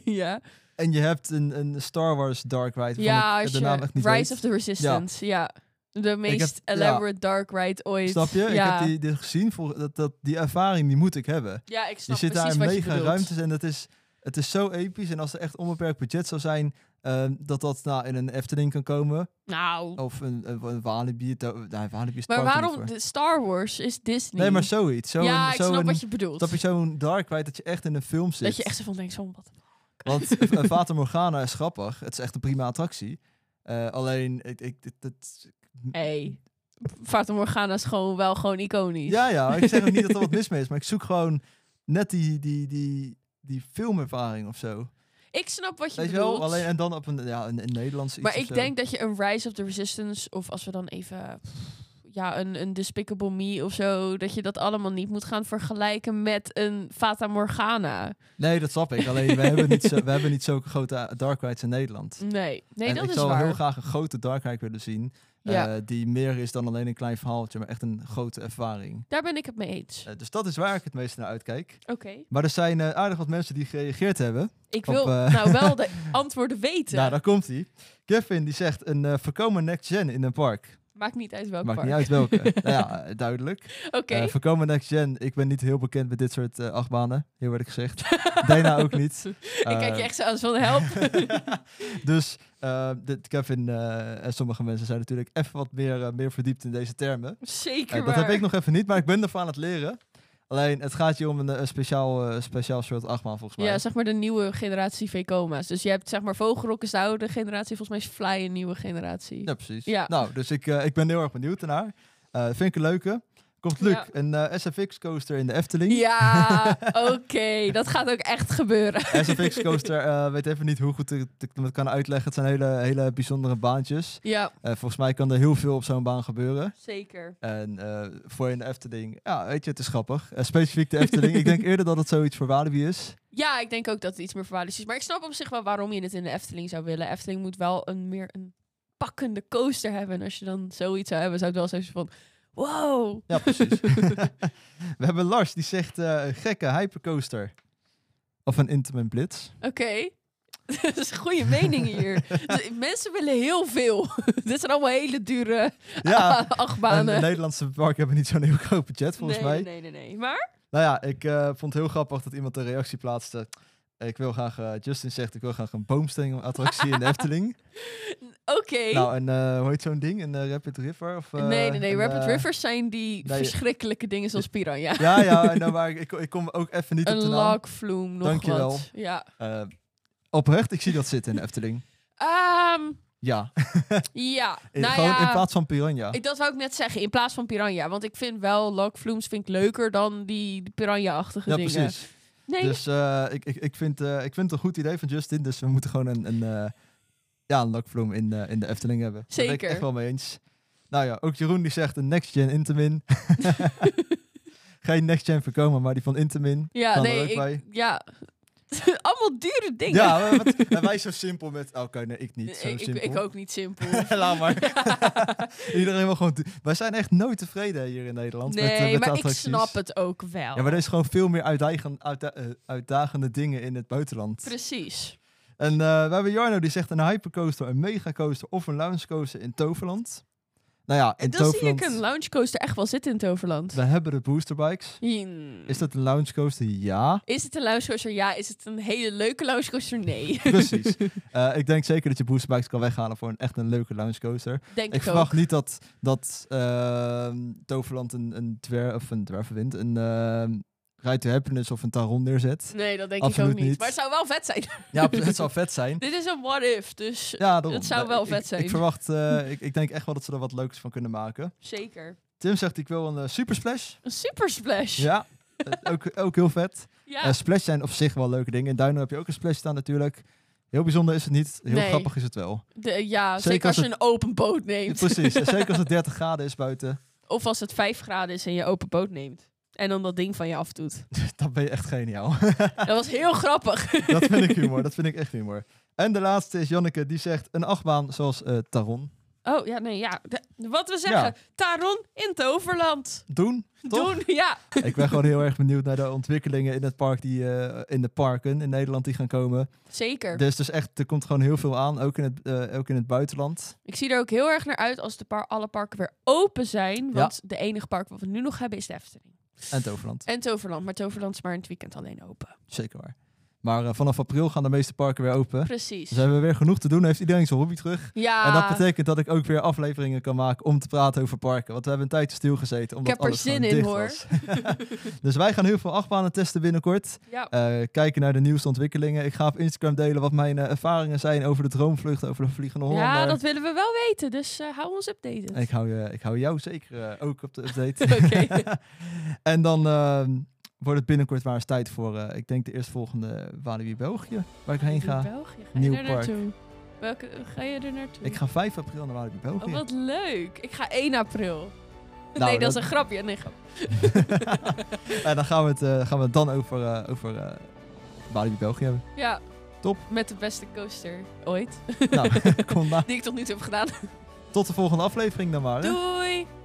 C: ja.
B: En je hebt een, een Star Wars dark ride. waarvan
C: ja
B: ik,
C: als
B: eh, de
C: je-
B: naam echt niet
C: Rise
B: weet.
C: of the Resistance, ja. De meest
B: heb- ja.
C: elaborate dark ride ooit.
B: Snap je?
C: Ja.
B: Ik heb die, die gezien. Voor, dat, dat, die ervaring die moet ik hebben.
C: Ja, ik
B: Je
C: snap
B: zit daar
C: precies
B: in
C: wat je
B: mega
C: bedoelt.
B: ruimtes en dat is, het is zo episch. En als er echt onbeperkt budget zou zijn, ehm, dat dat nou, in een Efteling kan komen.
C: Nou,
B: Of een, een, een Walibi. het- Nee, Walibi is het park
C: maar
B: er niet
C: waarom
B: voor.
C: de Star Wars is Disney?
B: Nee, maar zoiets. Zo
C: ja,
B: een,
C: ik
B: zo
C: snap
B: een,
C: wat je bedoelt.
B: Snap je zo'n dark ride dat je echt in een film zit?
C: dat je echt zo van denkt, van wat.
B: Want eh, Fata Morgana is grappig. Het is echt een prima attractie. Eh, alleen, ik, ik, dit- dit-
C: Hey, Fata Morgana is gewoon wel gewoon iconisch.
B: Ja, ja, ik zeg ook niet dat er wat mis mee is, maar ik zoek gewoon net die, die, die, die filmervaring of zo.
C: Ik snap wat je
B: Weet je
C: bedoelt.
B: wel? Alleen, en dan op een, ja, een, een Nederlands iets eh.
C: maar
B: of
C: ik
B: zo.
C: denk dat je een Rise of the Resistance, of als we dan even... Ja, een, een Despicable Me of zo. Dat je dat allemaal niet moet gaan vergelijken met een Fata Morgana.
B: Nee, dat snap ik. Alleen, we hebben niet, zo, we hebben niet zulke grote eh, dark rides in Nederland.
C: Nee, nee
B: en
C: dat
B: ik
C: is
B: zou
C: waar.
B: heel graag een grote dark ride willen zien. eh,
C: ja,
B: die meer is dan alleen een klein verhaaltje, maar echt een grote ervaring.
C: daar ben ik het mee eens.
B: Eh, dus dat is waar ik het meest naar uitkijk.
C: Oké.
B: Maar er zijn eh, aardig wat mensen die gereageerd hebben.
C: Ik
B: Op,
C: wil
B: eh,
C: nou wel de antwoorden weten.
B: Nou, daar komt hij. Kevin die zegt een eh voorkomen next gen in een park.
C: Maakt niet uit welk
B: Maakt
C: park.
B: niet uit welke. nou ja, eh, duidelijk.
C: Oké.
B: Eh, voorkomen next gen. Ik ben niet heel bekend met dit soort eh, achtbanen, heel eerlijk gezegd. Dana ook niet. Eh,
C: ik kijk je echt zo aan van help.
B: dus eh, dit, Kevin eh, en sommige mensen zijn natuurlijk even wat meer, eh, meer verdiept in deze termen.
C: Zeker
B: Eh, dat heb ik nog even niet, maar ik ben ervan aan het leren. Alleen, het gaat hier om een, eh, speciaal, eh, speciaal soort achtbaan volgens mij.
C: Ja, zeg maar de nieuwe generatie VKOMA's. Dus je hebt zeg maar Vogelrok is de oude generatie. Volgens mij is Fly een nieuwe generatie.
B: Ja, precies.
C: Ja.
B: Nou, dus ik, eh, ik ben heel erg benieuwd naar. Eh vind ik een leuke. Komt Luc,
C: Ja.
B: een eh, SFX coaster in de Efteling.
C: Ja, oké. Dat gaat ook echt gebeuren.
B: SFX coaster, eh, weet even niet hoe goed ik ik het kan uitleggen. Het zijn hele, hele bijzondere baantjes.
C: Ja,
B: Eh, volgens mij kan er heel veel op zo'n baan gebeuren.
C: zeker.
B: En eh, voor in de Efteling, ja, weet je, het is grappig. Eh, specifiek de Efteling. ik denk eerder dat het zoiets voor Walibi is.
C: Ja, ik denk ook dat het iets meer verwaarloosd is. Maar ik snap op zich wel waarom je het in de Efteling zou willen. Efteling moet wel een meer een pakkende coaster hebben. En als je dan zoiets zou hebben, zou het wel zoiets van... Wow.
B: Ja, precies. We hebben Lars, die zegt eh, een gekke hypercoaster. Of een Intamin Blitz.
C: Oké. Dat is goede meningen hier. Dus Mensen willen heel veel. Dit zijn allemaal hele dure
B: Ja, En de
C: achtbanen.
B: Nederlandse parken hebben niet zo'n heel groot budget, volgens
C: nee,
B: mij.
C: nee, nee, nee. Maar?
B: Nou ja, ik eh, vond het heel grappig dat iemand een reactie plaatste. Ik wil graag, eh, Justin zegt, ik wil graag een boomstengelattractie in de Efteling.
C: Oké.
B: Nou, en eh, hoe heet zo'n ding? Een eh, Rapid River? Of, eh,
C: nee, nee, nee.
B: een,
C: Rapid
B: eh,
C: Rivers zijn die
B: nee.
C: verschrikkelijke dingen zoals piranha.
B: Ja, ja, nou, maar ik, ik kom ook even niet op
C: Een
B: de naam.
C: logvloem, nog
B: Dankjewel.
C: wat. Ja.
B: Eh, oprecht, ik zie dat zitten in de Efteling.
C: Ehm,
B: Ja,
C: Ja,
B: in,
C: nou
B: gewoon
C: ja,
B: in plaats van piranha.
C: ik, dat wou ik net zeggen. In plaats van piranha. Want ik vind wel Lokvloems vind ik leuker dan die, die piranha-achtige
B: ja,
C: dingen.
B: precies.
C: Nee,
B: Dus eh, ik, ik, ik, vind, eh, ik vind het een goed idee van Justin. Dus we moeten gewoon een, een, eh, ja, een lakvloem in, eh, in de Efteling hebben. Daar ben
C: Zeker.
B: ik echt wel mee eens. Nou ja, ook Jeroen die zegt een next-gen Intamin. Geen next-gen voorkomen, maar die van Intamin.
C: ja,
B: kan er ook
C: nee,
B: bij.
C: ik, ja. Allemaal dure dingen.
B: Ja, maar wat- en wij zo simpel met... oh, Oké, nee, ik niet. Zo
C: ik,
B: simpel.
C: ik ook niet simpel.
B: Laat maar. Iedereen wil gewoon... doen. Wij zijn echt nooit tevreden hier in Nederland. met, eh,
C: nee,
B: met de
C: maar ik
B: attracties.
C: snap het ook wel.
B: Ja, maar er is gewoon veel meer uitdagen- uitda- eh, uitdagende dingen in het buitenland.
C: Precies.
B: En eh, we hebben Jarno die zegt een hypercoaster, een megacoaster of een loungecoaster in Toverland. Nou ja, in
C: En dan zie
B: Toverland,
C: ik een loungecoaster echt wel zitten in Toverland.
B: we hebben de boosterbikes.
C: Hmm.
B: Is dat een loungecoaster? Ja,
C: Is het een loungecoaster? Ja. Is het een hele leuke loungecoaster? Nee.
B: precies. Eh, ik denk zeker dat je boosterbikes kan weghalen voor een echt een leuke loungecoaster.
C: Denk
B: Ik
C: ik,
B: verwacht
C: ook.
B: niet dat, dat ehm, Toverland een, een dwer, of een dwervenwind, een ehm Ride to Happiness of een Taron neerzet.
C: Nee, dat denk
B: Absoluut
C: ik ook niet.
B: niet.
C: Maar het zou wel vet zijn.
B: Ja, het zou vet zijn.
C: Dit is een what-if, dus
B: Ja, daarom.
C: Het zou
B: Nee,
C: wel
B: ik-
C: vet
B: ik- Ik,
C: zijn.
B: verwacht, eh, ik, ik denk echt wel dat ze er wat leuks van kunnen maken.
C: zeker.
B: Tim zegt ik wil een eh, super splash.
C: Een super splash.
B: Ja, eh, ook, ook heel vet.
C: Ja.
B: Eh, splash zijn op zich wel leuke dingen. In Duino heb je ook een splash staan natuurlijk. Heel bijzonder is het niet. Heel
C: Nee.
B: grappig is het wel.
C: De- ja, zeker,
B: Zeker
C: als je
B: als
C: een open boot
B: Ja,
C: neemt.
B: Precies. En zeker als het 30 graden is buiten.
C: Of als het 5 graden is en je open boot neemt. En dan dat ding van je afdoet.
B: Dan ben je echt geniaal.
C: dat was heel grappig.
B: dat vind ik humor. Dat vind ik echt humor. En de laatste is Janneke. Die zegt een achtbaan zoals eh, Taron.
C: Oh ja, nee, ja. De- wat we zeggen, Taron in Toverland.
B: Doen. Toch?
C: Doen, ja.
B: ik ben gewoon heel erg benieuwd naar de ontwikkelingen in het park. Die, eh, in de parken in Nederland die gaan komen.
C: Zeker.
B: Dus, dus echt, er komt gewoon heel veel aan. Ook in het, eh, ook in het buitenland.
C: Ik zie er ook heel erg naar uit als de par alle parken weer open zijn. Want de enige park wat we nu nog hebben is de Efteling.
B: En Toverland.
C: En Toverland. Maar Toverland is maar in het weekend alleen open.
B: Zeker waar. Maar eh, vanaf april gaan de meeste parken weer open.
C: Precies.
B: Dus hebben we weer genoeg te doen. Heeft iedereen zijn hobby terug.
C: Ja.
B: En dat betekent dat ik ook weer afleveringen kan maken om te praten over parken. Want we hebben een tijdje stilgezeten. Omdat
C: heb er
B: alles
C: zin
B: gewoon
C: in,
B: dicht
C: hoor.
B: was. dus wij gaan heel veel achtbanen testen binnenkort.
C: ja.
B: Eh, kijken naar de nieuwste ontwikkelingen. Ik ga op Instagram delen wat mijn eh, ervaringen zijn over de droomvlucht, over de Vliegende Hollander.
C: ja, dat willen we wel weten. Dus eh, hou ons updated.
B: En ik hou, je, ik hou jou zeker eh, ook op de update.
C: Oké.
B: en dan ehm, wordt het binnenkort waar eens tijd voor, eh, ik denk de eerstvolgende Walibi België, waar ik heen ga.
C: België. Ga
B: Nieuw
C: je er
B: park.
C: naartoe? Welke ga je er naartoe?
B: Ik ga 5 april naar Walibi België.
C: Oh, wat leuk. Ik ga 1 april.
B: Nou,
C: nee, dat,
B: dat-
C: is een grapje. Nee, grap.
B: en dan gaan we het, eh, gaan we het dan over, eh, over eh, Walibi België hebben.
C: Ja.
B: Top.
C: Met de beste coaster ooit.
B: nou, kom maar.
C: Die ik tot nu toe heb gedaan.
B: Tot de volgende aflevering dan maar. hè.
C: Doei!